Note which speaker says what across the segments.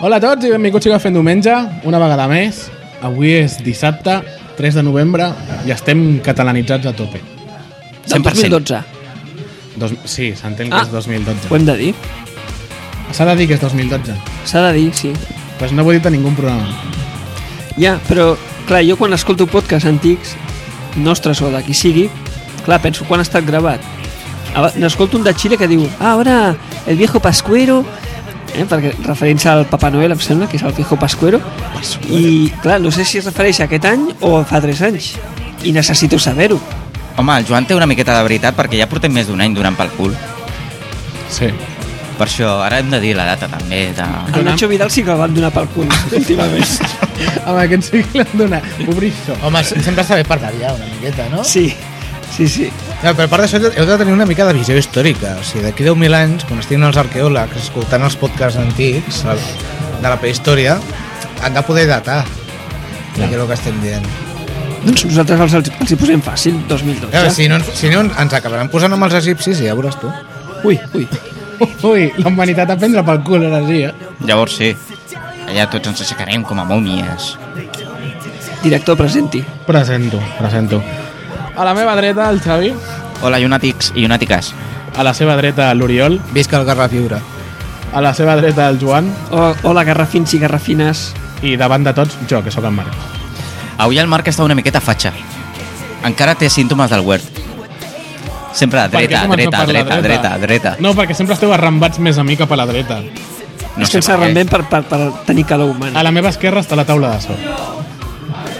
Speaker 1: Hola a tots i benvinguts a Fent Diumenge, una vegada més. Avui és dissabte, 3 de novembre, i estem catalanitzats a tope.
Speaker 2: Del
Speaker 3: 100%.
Speaker 2: 2012,
Speaker 1: Dos, sí, s'entén
Speaker 2: Ah.
Speaker 1: que és 2012.
Speaker 2: ho hem de dir.
Speaker 1: S'ha de dir que és 2012,
Speaker 2: S'ha de dir, sí.
Speaker 1: pues no ho he dit a ningú programa.
Speaker 2: Ja, però, clar, jo quan escolto podcasts antics, nostres o de qui sigui, clar, penso quan ha estat gravat. Aba- N'escolto un de Xile que diu, ah, ara, el viejo pascuero, eh, perquè referència al Papa Noel, em sembla, que és el viejo pascuero, i, clar, no sé si es refereix a aquest any o fa 3 anys, i necessito saber-ho.
Speaker 3: Home, el Joan té una miqueta de veritat perquè ja portem més d'un any donant pel cul.
Speaker 1: Sí.
Speaker 3: Per això, ara hem de dir la data també. De...
Speaker 2: El Nacho Vidal sí que el van donar pel cul, últimament.
Speaker 1: Amb aquest cicle han donat. Obrir això.
Speaker 4: Home, se- sempre està bé per variar una miqueta, no?
Speaker 2: Sí, sí, sí.
Speaker 4: No, però a part d'això heu de tenir una mica de visió històrica. O sigui, d'aquí 10.000 anys, quan estiguin els arqueòlegs escoltant els podcasts antics el, de la prehistòria, han de poder datar ja. el que estem dient.
Speaker 2: Doncs nosaltres els, els hi posem fàcil, 2012.
Speaker 4: Ja. Si, no, ens- si no, ens acabaran posant amb els egipcis i ja veuràs tu.
Speaker 2: Ui, ui.
Speaker 1: Ui, la humanitat a prendre pel cul, ara sí, eh?
Speaker 3: Llavors sí, allà tots ens aixecarem com a mòmies.
Speaker 2: Director, presenti.
Speaker 1: Presento, presento. A la meva dreta, el Xavi.
Speaker 3: Hola, llunàtics i llunàtiques.
Speaker 1: A la seva dreta, l'Oriol.
Speaker 4: Visca el Garra Viure.
Speaker 1: A la seva dreta, el Joan.
Speaker 2: O, hola, garrafins i garrafines.
Speaker 1: I davant de tots, jo, que sóc en Marc.
Speaker 3: Avui el Marc està una miqueta fatxa. Encara té símptomes del huert. Sempre a la dreta,
Speaker 1: Per què
Speaker 3: dreta,
Speaker 1: començo per la
Speaker 3: dreta, dreta, dreta.
Speaker 1: No, perquè sempre esteu arrambats més a mi cap a la dreta.
Speaker 2: No és que ens
Speaker 3: per què.
Speaker 2: arrambem per, per, per tenir calor humana,
Speaker 1: A la meva esquerra està la taula de so.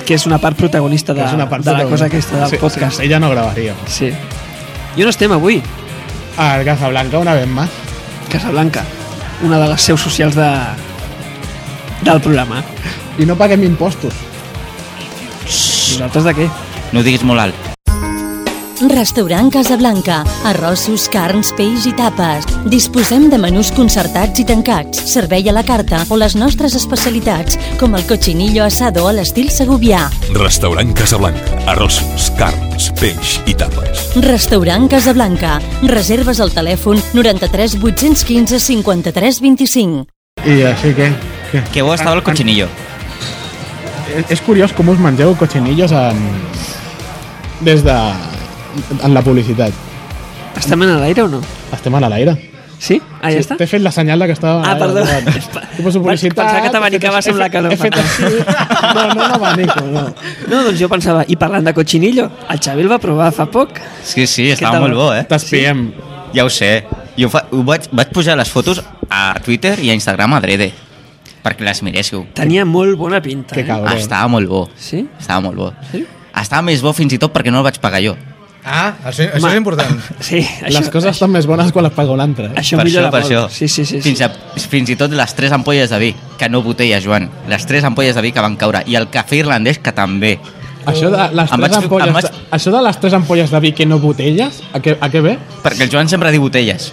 Speaker 2: que és una part protagonista de,
Speaker 1: que és una part
Speaker 2: de la
Speaker 1: totalment-
Speaker 2: cosa aquesta del
Speaker 1: Sí,
Speaker 2: podcast.
Speaker 1: sí, ella no gravaria.
Speaker 2: Sí. I on estem avui?
Speaker 1: A Casablanca, una vez más.
Speaker 2: Casablanca, una de les seus socials de, del programa.
Speaker 1: I no paguem impostos.
Speaker 2: Nosaltres de què?
Speaker 3: No ho diguis molt alt.
Speaker 5: Restaurant Casablanca. Arrossos, carns, peix i tapes. Disposem de menús concertats i tancats, servei a la carta o les nostres especialitats, com el cochinillo asado a l'estil segovià.
Speaker 6: Restaurant Casablanca. Arrossos, carns, peix i tapes.
Speaker 5: Restaurant Casablanca. Reserves al telèfon 93 815 53 25.
Speaker 1: I així que... que
Speaker 3: Que bo estava el cochinillo.
Speaker 1: és, és curiós com us mengeu cochinillos en... des de... en la publicitat.
Speaker 2: Estem en l'aire o no?
Speaker 1: Estem a l'aire.
Speaker 2: Sí? Ah, ja està?
Speaker 1: T'he fet la senyal de que estava...
Speaker 2: Ah, perdó.
Speaker 1: He posat publicitat...
Speaker 2: Pensava que t'abanicaves
Speaker 1: he fet-
Speaker 2: amb la calor.
Speaker 1: He fet així. No, no, no abanico, no.
Speaker 2: No, doncs jo pensava, i parlant de cochinillo, el Xavi el va provar fa poc.
Speaker 3: Sí, sí, estava
Speaker 2: tal?
Speaker 3: molt bo, eh?
Speaker 1: T'espiem.
Speaker 3: Ja ho sé. Jo fa, ho vaig, vaig pujar les fotos a Twitter i a Instagram a drede perquè les miréssiu.
Speaker 2: Tenia molt bona pinta.
Speaker 1: Que
Speaker 2: eh?
Speaker 1: cabrón.
Speaker 3: Ah, Estava molt bo.
Speaker 2: Sí?
Speaker 3: Estava molt bo.
Speaker 2: Sí?
Speaker 3: Estava més bo fins i tot perquè no el vaig pagar jo.
Speaker 4: Ah, això, això
Speaker 2: Home.
Speaker 4: és important.
Speaker 2: Sí, això,
Speaker 1: Les coses estan més bones quan les paga un altre. eh?
Speaker 2: Això
Speaker 3: per
Speaker 2: millora
Speaker 3: això, per
Speaker 2: molt.
Speaker 3: això.
Speaker 2: Sí, sí, sí.
Speaker 3: Fins,
Speaker 2: sí.
Speaker 3: a, fins i tot les tres ampolles de vi, que no botella, Joan. Les tres ampolles de vi que van caure. I el cafè irlandès, que també.
Speaker 1: Això de les
Speaker 3: Em
Speaker 1: tres
Speaker 3: vaig-
Speaker 1: ampolles,
Speaker 3: em vaig-
Speaker 1: de- això de les tres ampolles de vi que no botelles, a què, a què ve?
Speaker 3: Perquè el Joan sempre diu botelles.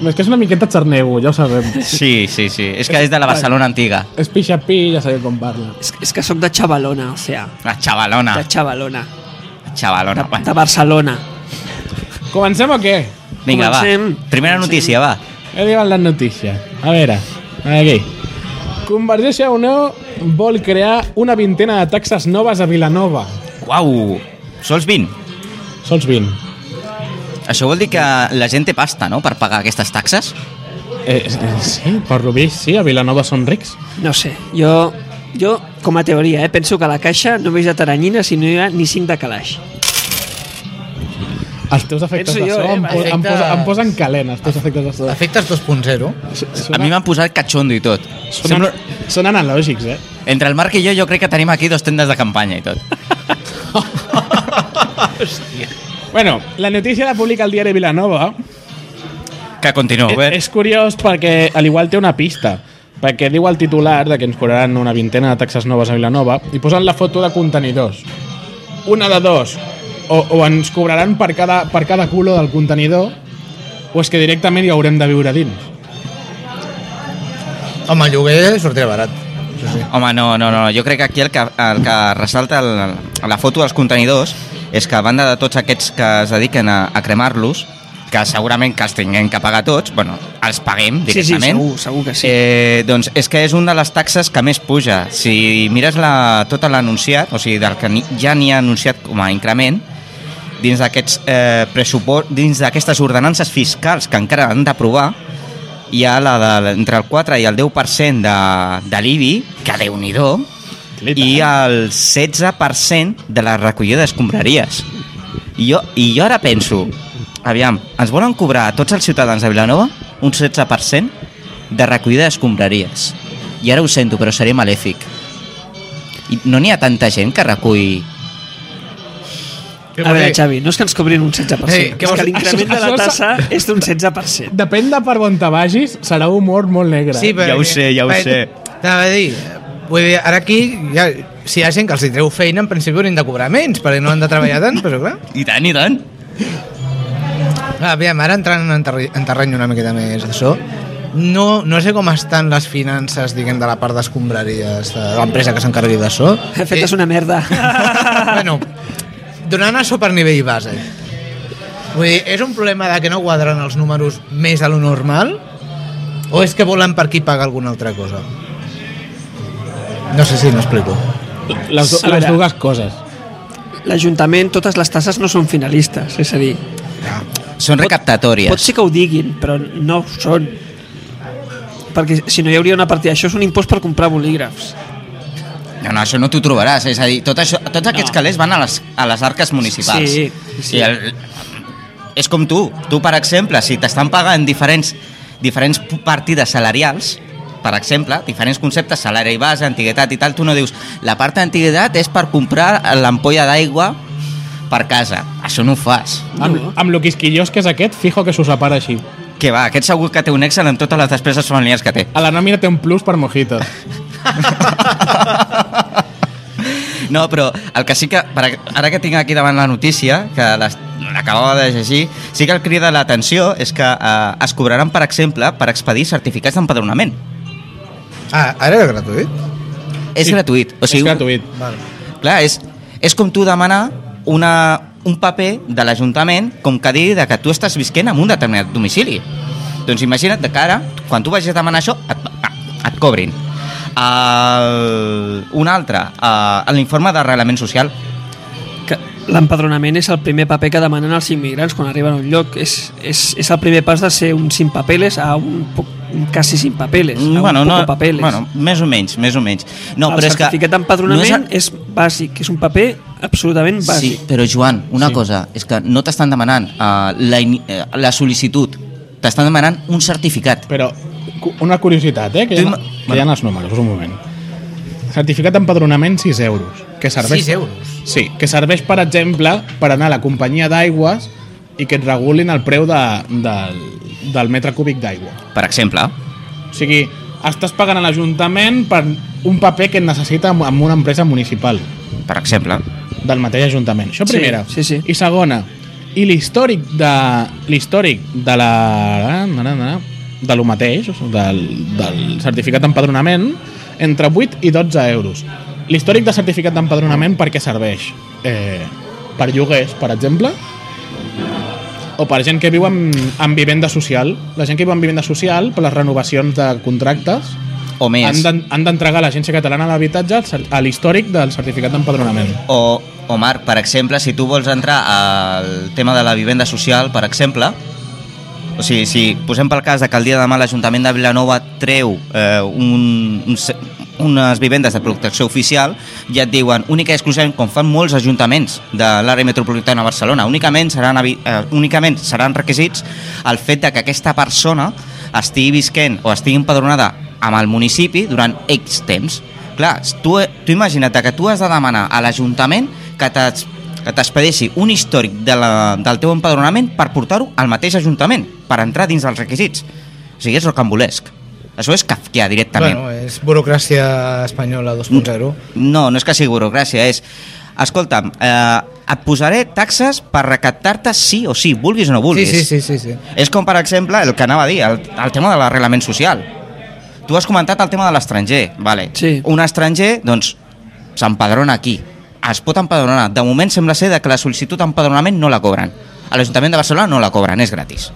Speaker 1: És que és una miqueta xarnego, ja ho sabem.
Speaker 3: Sí, sí, sí. És que és de la Barcelona antiga.
Speaker 1: És pixapí, ja sabeu com parla.
Speaker 2: És, és que sóc de Xavalona, o sea,
Speaker 3: La xavalona.
Speaker 2: de Xavalona,
Speaker 3: Xavalona.
Speaker 2: de, de
Speaker 3: Ah. Bueno,
Speaker 2: Barcelona.
Speaker 1: Comencem o què?
Speaker 3: vinga, va.
Speaker 2: Comencem.
Speaker 3: Primera
Speaker 2: Comencem.
Speaker 3: notícia, va.
Speaker 1: He arribat la notícia. A veure, aquí. Convergència Unió vol crear una vintena de taxes noves a Vilanova.
Speaker 3: Uau! Sols 20.
Speaker 1: Sols 20.
Speaker 3: Això vol dir que la gent té pasta, no?, per pagar aquestes taxes?
Speaker 1: Eh, eh, sí, per lo vist, sí, a Vilanova són rics.
Speaker 2: No sé, jo, jo com a teoria, eh, penso que a la caixa només hi ha taranyina si no hi ha ni cinc de calaix.
Speaker 1: Els teus efectes
Speaker 2: Penso
Speaker 1: de
Speaker 2: jo,
Speaker 1: so
Speaker 2: eh,
Speaker 1: em, po em, posa, em posen calent, els teus efectes de so.
Speaker 4: Efectes 2.0.
Speaker 3: A mi m'han posat catxondo i tot.
Speaker 1: Sonen, sonen analògics, eh?
Speaker 3: Entre el Marc i jo, jo crec que tenim aquí dos tendes de campanya i tot.
Speaker 1: Bueno, la notícia la publica el diari Vilanova.
Speaker 3: Que continuo,
Speaker 1: Eh,
Speaker 3: bé.
Speaker 1: És curiós perquè al igual té una pista perquè diu el titular de que ens cobraran una vintena de taxes noves a Vilanova i posen la foto de contenidors. Una de dos. O, o ens cobraran per cada, per cada culo del contenidor o és que directament hi haurem de viure dins.
Speaker 4: Home, el lloguer sortirà barat.
Speaker 2: eh.
Speaker 3: Home, no, no, no. Jo crec que aquí el que, el que ressalta el, la foto dels contenidors és que a banda de tots aquests que es dediquen a, a cremar-los, que segurament que els tinguem que pagar tots, bueno, els paguem
Speaker 2: Sí, sí,
Speaker 3: directament.
Speaker 2: segur, segur que sí.
Speaker 3: Eh, doncs és que és una de les taxes que més puja. Si mires la, tot l'anunciat, o sigui, del que ni, ja n'hi ha anunciat com a increment, dins d'aquests eh, pressupost, dins d'aquestes ordenances fiscals que encara han d'aprovar, hi ha la de, entre el 4 i el 10% de, de l'IBI, que déu nhi i el 16% de la recollida d'escombraries. I jo, I jo ara penso, aviam, ens volen cobrar a tots els ciutadans de Vilanova un 16% de recollida d'escombraries. I ara ho sento, però seré malèfic. I no n'hi ha tanta gent que recull...
Speaker 4: Què
Speaker 2: A
Speaker 4: vol
Speaker 2: veure,
Speaker 4: dir?
Speaker 2: Xavi, no és que ens cobrin un 16%,
Speaker 4: Ei, què
Speaker 2: és
Speaker 4: vols
Speaker 2: que
Speaker 4: dir?
Speaker 2: l'increment de
Speaker 1: Això-
Speaker 2: la
Speaker 1: això-
Speaker 2: tassa és d'un 16%.
Speaker 1: Depèn de per on te vagis, serà humor molt negre. eh?
Speaker 4: Sí, però,
Speaker 3: Ja ho sé, ja ho sé.
Speaker 4: T'anava a dir, vull dir, ara aquí, ja, si hi ha gent que els hi treu feina, en principi haurien de cobrar menys, perquè no han de treballar tant, però clar.
Speaker 3: I tant, i tant.
Speaker 4: Clar, Aviam, ara entrant en, terri- en terreny una miqueta més d'això, no, no sé com estan les finances, diguem, de la part d'escombraries de l'empresa que s'encarregui d'això. Eh,
Speaker 2: De fet, és una merda.
Speaker 4: bueno, donant això per nivell base. Vull dir, és un problema de que no quadren els números més a lo normal o és que volen per aquí pagar alguna altra cosa? No sé si m'explico.
Speaker 1: Les, do-
Speaker 2: A
Speaker 1: les
Speaker 2: veure.
Speaker 1: dues coses.
Speaker 2: L'Ajuntament, totes les tasses no són finalistes, és a dir,
Speaker 3: Són recaptatòries.
Speaker 2: pot ser que ho diguin, però no ho són. Perquè si no hi hauria una partida, això és un impost per comprar bolígrafs.
Speaker 3: No, no, això no t'ho trobaràs. És a dir, tot això, tots aquests
Speaker 2: No.
Speaker 3: calés van a les, a les arques municipals.
Speaker 2: Sí, sí.
Speaker 3: I el, és com tu. Tu, per exemple, si t'estan pagant diferents, diferents partides salarials, per exemple, diferents conceptes, salari base, antiguitat i tal, tu no dius la part d'antiguitat és per comprar l'ampolla d'aigua per casa. Això no ho fas.
Speaker 1: Amb, amb lo quisquillós que és aquest, fijo que s'ho separa així.
Speaker 3: Que va, aquest segur que té un Excel amb totes les despeses familiars que té.
Speaker 1: A la nòmina té un plus per mojitos.
Speaker 3: No, però el que sí que, per, ara que tinc aquí davant la notícia, que les- l'acabava de llegir, sí que el crida l'atenció és que eh, es cobraran, per exemple, per expedir certificats d'empadronament.
Speaker 4: Ah, ara era gratuït?
Speaker 3: És
Speaker 1: Sí.
Speaker 3: gratuït. O
Speaker 1: O sigui,
Speaker 3: sigui,
Speaker 1: és gratuït.
Speaker 4: Vale.
Speaker 3: Clar, és, és com tu demanar una, un paper de l'Ajuntament com que digui de que tu estàs visquent en un determinat domicili. Doncs imagina't que ara, quan tu vagis a demanar això, et, ah, et cobrin. Uh, un altre, uh, l'informe d'arrelament social.
Speaker 2: Que L'empadronament és el primer paper que demanen els immigrants quan arriben a un lloc. És, és, és el primer pas de ser un sin papeles a un, poc, un quasi sin papeles. A un
Speaker 3: Mm, bueno,
Speaker 2: poco
Speaker 3: no,
Speaker 2: papeles. Ah,
Speaker 3: bueno, més o menys, més o menys. No,
Speaker 2: el
Speaker 3: però és que...
Speaker 2: certificat d'empadronament
Speaker 3: no
Speaker 2: és, bàsic, és un paper absolutament
Speaker 3: el- Sí,
Speaker 2: bàsic.
Speaker 3: però Joan, una sí. cosa, és que no t'estan demanant uh, la, ini- eh, la sol·licitud, t'estan demanant un certificat.
Speaker 1: Però cu- una curiositat, eh? Que hi
Speaker 3: Tu
Speaker 1: ha,
Speaker 3: ima-
Speaker 1: que hi ha els números, un moment. Certificat d'empadronament 6 euros. Que serveix,
Speaker 4: 6 euros?
Speaker 1: Sí, que serveix, per exemple, per anar a la companyia d'aigües i que et regulin el preu de, del, del metre cúbic d'aigua.
Speaker 3: Per exemple,
Speaker 1: O sigui, estàs pagant a l'Ajuntament per un paper que et necessita amb- amb una empresa municipal
Speaker 3: per exemple.
Speaker 1: del mateix Ajuntament. Això
Speaker 2: Sí,
Speaker 1: primera.
Speaker 2: sí, sí.
Speaker 1: I segona, i l'històric de l'històric de la na, na, na, de lo mateix, o sigui, del, del certificat d'empadronament, entre 8 i 12 euros. L'històric de certificat d'empadronament per què serveix? Eh, per lloguers, per exemple, o per gent que viu en, en vivenda social. La gent que viu en vivenda social, per les renovacions de contractes,
Speaker 3: O més.
Speaker 1: han d'en- han d'entregar a l'Agència Catalana de l'Habitatge el cer- a l'històric del certificat d'empadronament.
Speaker 3: O, o Marc, per exemple, si tu vols entrar al tema de la vivenda social, per exemple, o sigui, si posem pel cas de que el dia de demà l'Ajuntament de Vilanova treu eh, un, un, se- unes vivendes de protecció oficial, ja et diuen, única i exclusivament, com fan molts ajuntaments de l'àrea metropolitana de Barcelona, únicament seran, habi- eh, únicament seran requisits el fet de que aquesta persona estigui visquent o estigui empadronada amb el municipi durant X temps. Clar, tu, tu imagina't que tu has de demanar a l'Ajuntament que t'es- que t'expedeixi un històric de la, del teu empadronament per portar-ho al mateix Ajuntament, per entrar dins dels requisits. O sigui, és rocambolesc. Això és kafkià directament.
Speaker 4: Bueno, eh. és burocràcia espanyola 2.0.
Speaker 3: No, no és que sigui burocràcia, és... Escolta'm, eh, et posaré taxes per recaptar-te sí o sí, vulguis o no
Speaker 4: Sí,
Speaker 3: vulguis.
Speaker 4: sí, sí, sí, sí.
Speaker 3: És com, per exemple, el que anava a dir, el, el tema de l'arrelament social. Tu has comentat el tema de l'estranger, vale.
Speaker 2: Sí.
Speaker 3: Un estranger, doncs, s'empadrona aquí. Es pot empadronar. De moment sembla ser de que la sol·licitud d'empadronament no la cobren. A l'Ajuntament de Barcelona no la cobren, és gratis.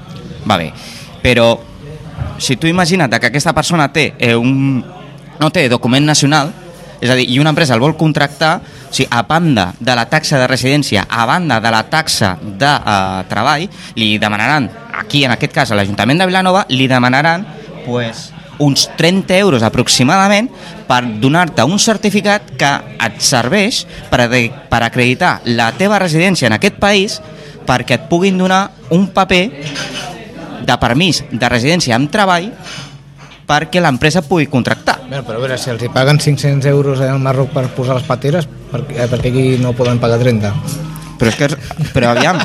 Speaker 3: Va bé. Però si tu imagina't que aquesta persona té eh, un, no té document nacional, és a dir, i una empresa el vol contractar, o sigui, a banda de la taxa de residència, a banda de la taxa de eh, treball, li demanaran, aquí en aquest cas a l'Ajuntament de Vilanova, li demanaran pues, uns 30 euros aproximadament per donar-te un certificat que et serveix per, ade- per acreditar la teva residència en aquest país perquè et puguin donar un paper de permís de residència amb treball perquè l'empresa pugui contractar.
Speaker 4: Bueno, però a veure, si els hi paguen 500 euros al Marroc per posar les pateres, per, eh, per què aquí no poden pagar 30?
Speaker 3: Però és que... Però aviam...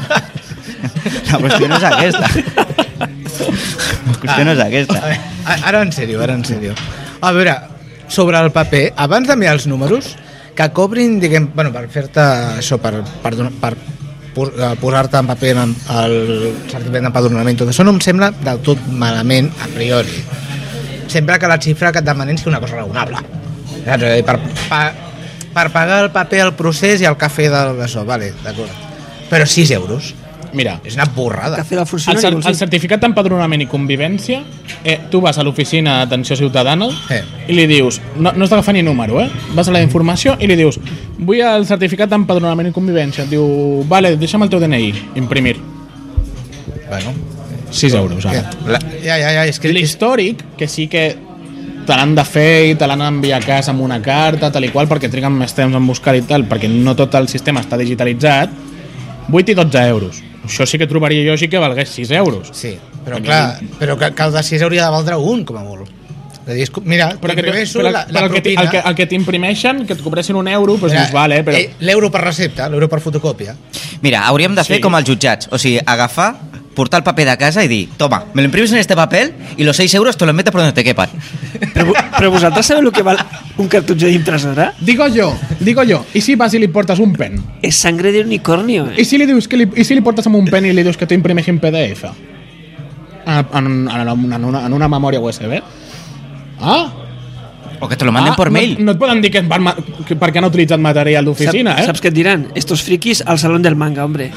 Speaker 3: La qüestió no és aquesta. La qüestió no és aquesta.
Speaker 4: A- a- Eh, Ara en sèrio, ara en sèrio. A veure, sobre el paper, abans de mirar els números, que cobrin, diguem, bueno, per fer-te això, per, per, donar- per pos- eh, posar-te en paper en el certificat d'empadronament, tot això no em sembla del tot malament a priori. Sempre que la xifra que et demanen sigui una cosa raonable. Saps? És a dir, Per, pa, per pagar el paper, el procés i el cafè del d'això, vale, d'acord. Però 6 euros
Speaker 1: Mira,
Speaker 4: és una borrada.
Speaker 2: Cafè del
Speaker 1: El,
Speaker 2: funcionari.
Speaker 1: cer
Speaker 2: vols
Speaker 1: el
Speaker 2: dir?
Speaker 1: certificat d'empadronament i convivència, eh, tu vas a l'oficina d'atenció ciutadana
Speaker 4: Eh.
Speaker 1: i li dius, no, no has d'agafar ni número, eh? vas a la informació i li dius, vull el certificat d'empadronament i convivència. Et diu, vale, deixa'm el teu DNI, imprimir.
Speaker 4: Bueno,
Speaker 1: 6 euros,
Speaker 4: ja,
Speaker 1: ara.
Speaker 4: la- ja, ja, ja, és que...
Speaker 1: L'històric, que sí que te l'han de fer i te l'han d'enviar a casa amb una carta, tal i qual, perquè triguen més temps en buscar i tal, perquè no tot el sistema està digitalitzat, 8 i 12 euros. Això sí que trobaria jo sí que valgués 6 euros.
Speaker 4: Sí, però clar, però que, que el de 6 hauria de valdre un, com a molt. És a dir, és com- mira,
Speaker 1: però que,
Speaker 4: t'imprimeixo
Speaker 1: però,
Speaker 4: la,
Speaker 1: però
Speaker 4: la
Speaker 1: el, que, ti-
Speaker 4: propina...
Speaker 1: el, que, el que t'imprimeixen, que et cobressin un euro, doncs dius, vale, però...
Speaker 4: eh, L'euro per recepta, l'euro per fotocòpia.
Speaker 3: Mira, hauríem de fer
Speaker 1: Sí.
Speaker 3: sí. com els jutjats. O sigui, agafar, portar el paper de casa i dir toma, me lo imprimes en este papel y los 6 euros te los metes por donde te quepan.
Speaker 2: Però, vo- però vosaltres sabeu el que val un cartutge d'impressora?
Speaker 1: Digo yo, digo yo, i si vas i li portes un pen?
Speaker 2: És sangre de unicornio,
Speaker 1: I
Speaker 2: eh?
Speaker 1: si li, dius que li, i si li portes amb un pen i li dius que t'ho imprimeixi en PDF? Ah, En, en, en, una- en, una, en una memòria USB? Ah,
Speaker 3: O que te lo manden
Speaker 1: ah,
Speaker 3: ah, por mail.
Speaker 1: No, no et poden dir que, van, ma- que perquè han utilitzat material d'oficina, eh?
Speaker 2: Saps què et diran? Estos friquis al salón del manga, hombre.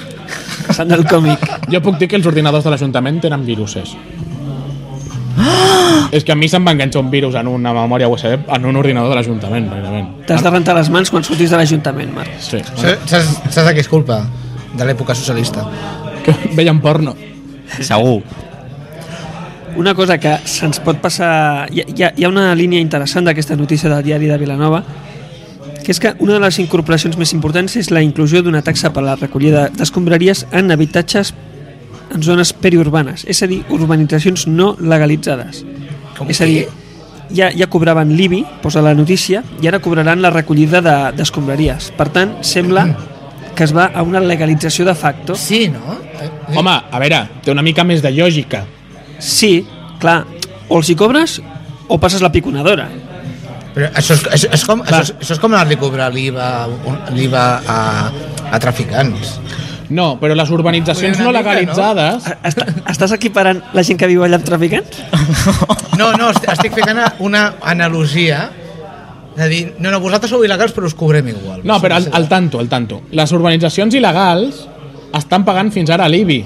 Speaker 2: Salón del còmic.
Speaker 1: Jo puc dir que els ordinadors de l'Ajuntament tenen viruses.
Speaker 3: Ah!
Speaker 1: És que a mi se'm va enganxar un virus en una memòria USB en un ordinador de l'Ajuntament, pràcticament.
Speaker 2: T'has de rentar les mans quan surtis de l'Ajuntament, Marc.
Speaker 1: Sí.
Speaker 4: Saps, saps, saps de què és culpa? De l'època socialista.
Speaker 1: Que veien porno.
Speaker 3: Segur.
Speaker 2: Una cosa que se'ns pot passar... Hi ha- hi ha, hi ha una línia interessant d'aquesta notícia del diari de Vilanova, que és que una de les incorporacions més importants és la inclusió d'una taxa per a la recollida d'escombraries en habitatges en zones periurbanes, és a dir, urbanitzacions no legalitzades.
Speaker 4: Com
Speaker 2: és a dir, ja, ja cobraven l'IBI, posa la notícia, i ara cobraran la recollida de- d'escombraries. per tant, sembla que es va a una legalització de facto.
Speaker 4: Sí, no? Eh,
Speaker 1: Home, a veure, té una mica més de lògica.
Speaker 2: Sí, clar, o els hi cobres o passes la piconadora.
Speaker 4: Però això és, això, és com,
Speaker 1: Va.
Speaker 4: això, és, això és com anar-li a cobrar l'IVA l'IVA a, a traficants.
Speaker 1: No, però les urbanitzacions
Speaker 4: Una
Speaker 1: no
Speaker 4: mica,
Speaker 1: legalitzades...
Speaker 2: Est estàs equiparant la gent que viu allà amb traficants?
Speaker 4: No, no, est- estic fent una, una analogia de dir, no, no, vosaltres sou il·legals però us cobrem igual.
Speaker 1: No, però al, al tanto, al tanto. Les urbanitzacions il·legals estan pagant fins ara l'IBI.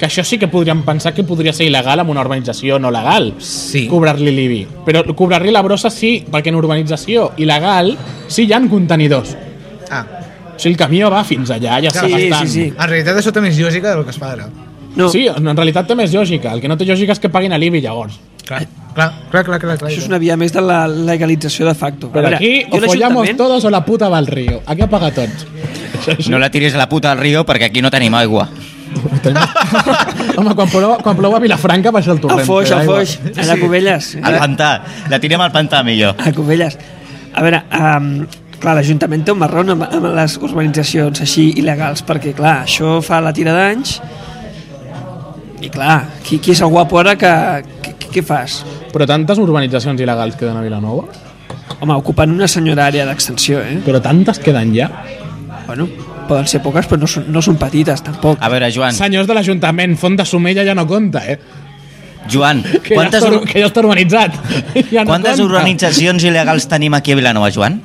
Speaker 1: Que això sí que podríem pensar que podria ser il·legal amb una urbanització no legal.
Speaker 4: Sí.
Speaker 1: Cobrar-li l'IBI. Però cobrar-li la brossa sí, perquè en urbanització il·legal sí hi han contenidors.
Speaker 4: Ah,
Speaker 1: O sigui, el camió va fins allà, ja està
Speaker 2: Sí, sí,
Speaker 1: gastant.
Speaker 2: sí.
Speaker 4: en realitat això també és lògica del que es fa ara.
Speaker 2: No,
Speaker 1: Sí, en realitat té més lògica. El que no té lògica és que paguin a l'IBI, llavors.
Speaker 4: Clar, clar, clar, clar, clar, clar.
Speaker 2: això és una via més de la legalització de facto. A
Speaker 1: Però
Speaker 2: veure,
Speaker 1: aquí
Speaker 2: jo
Speaker 1: o follamos
Speaker 2: l'Ajuntament-
Speaker 1: todos o la puta va al río. Aquí apaga tots.
Speaker 3: No la tiris a la puta al río perquè aquí no tenim aigua.
Speaker 1: Home, quan plou, quan plou a Vilafranca baixa el torrent.
Speaker 2: Al Foix,
Speaker 1: té
Speaker 2: al
Speaker 1: aigua.
Speaker 2: Foix, a la Cubelles.
Speaker 3: Al pantà. La tirem al pantà millor.
Speaker 2: A Cubelles. A veure, um, clar, l'Ajuntament té un marrón amb, amb les urbanitzacions així il·legals, perquè, clar, això fa la tira d'anys i, clar, qui, qui és el guapo ara que, que, que, què fas?
Speaker 1: Però tantes urbanitzacions il·legals queden a Vilanova?
Speaker 2: Home, ocupant una senyora àrea d'extensió, eh?
Speaker 1: Però tantes queden ja?
Speaker 2: Bueno, poden ser poques, però no són, no són petites, tampoc.
Speaker 3: A veure, Joan,
Speaker 1: Senyors de l'Ajuntament, Font de Somella ja no compta, eh?
Speaker 3: Joan,
Speaker 1: Que,
Speaker 3: quantes,
Speaker 1: ja,
Speaker 3: ur-
Speaker 1: està, que ja està urbanitzat. Ja no
Speaker 3: quantes
Speaker 1: compta.
Speaker 3: urbanitzacions il·legals tenim aquí a Vilanova, Joan?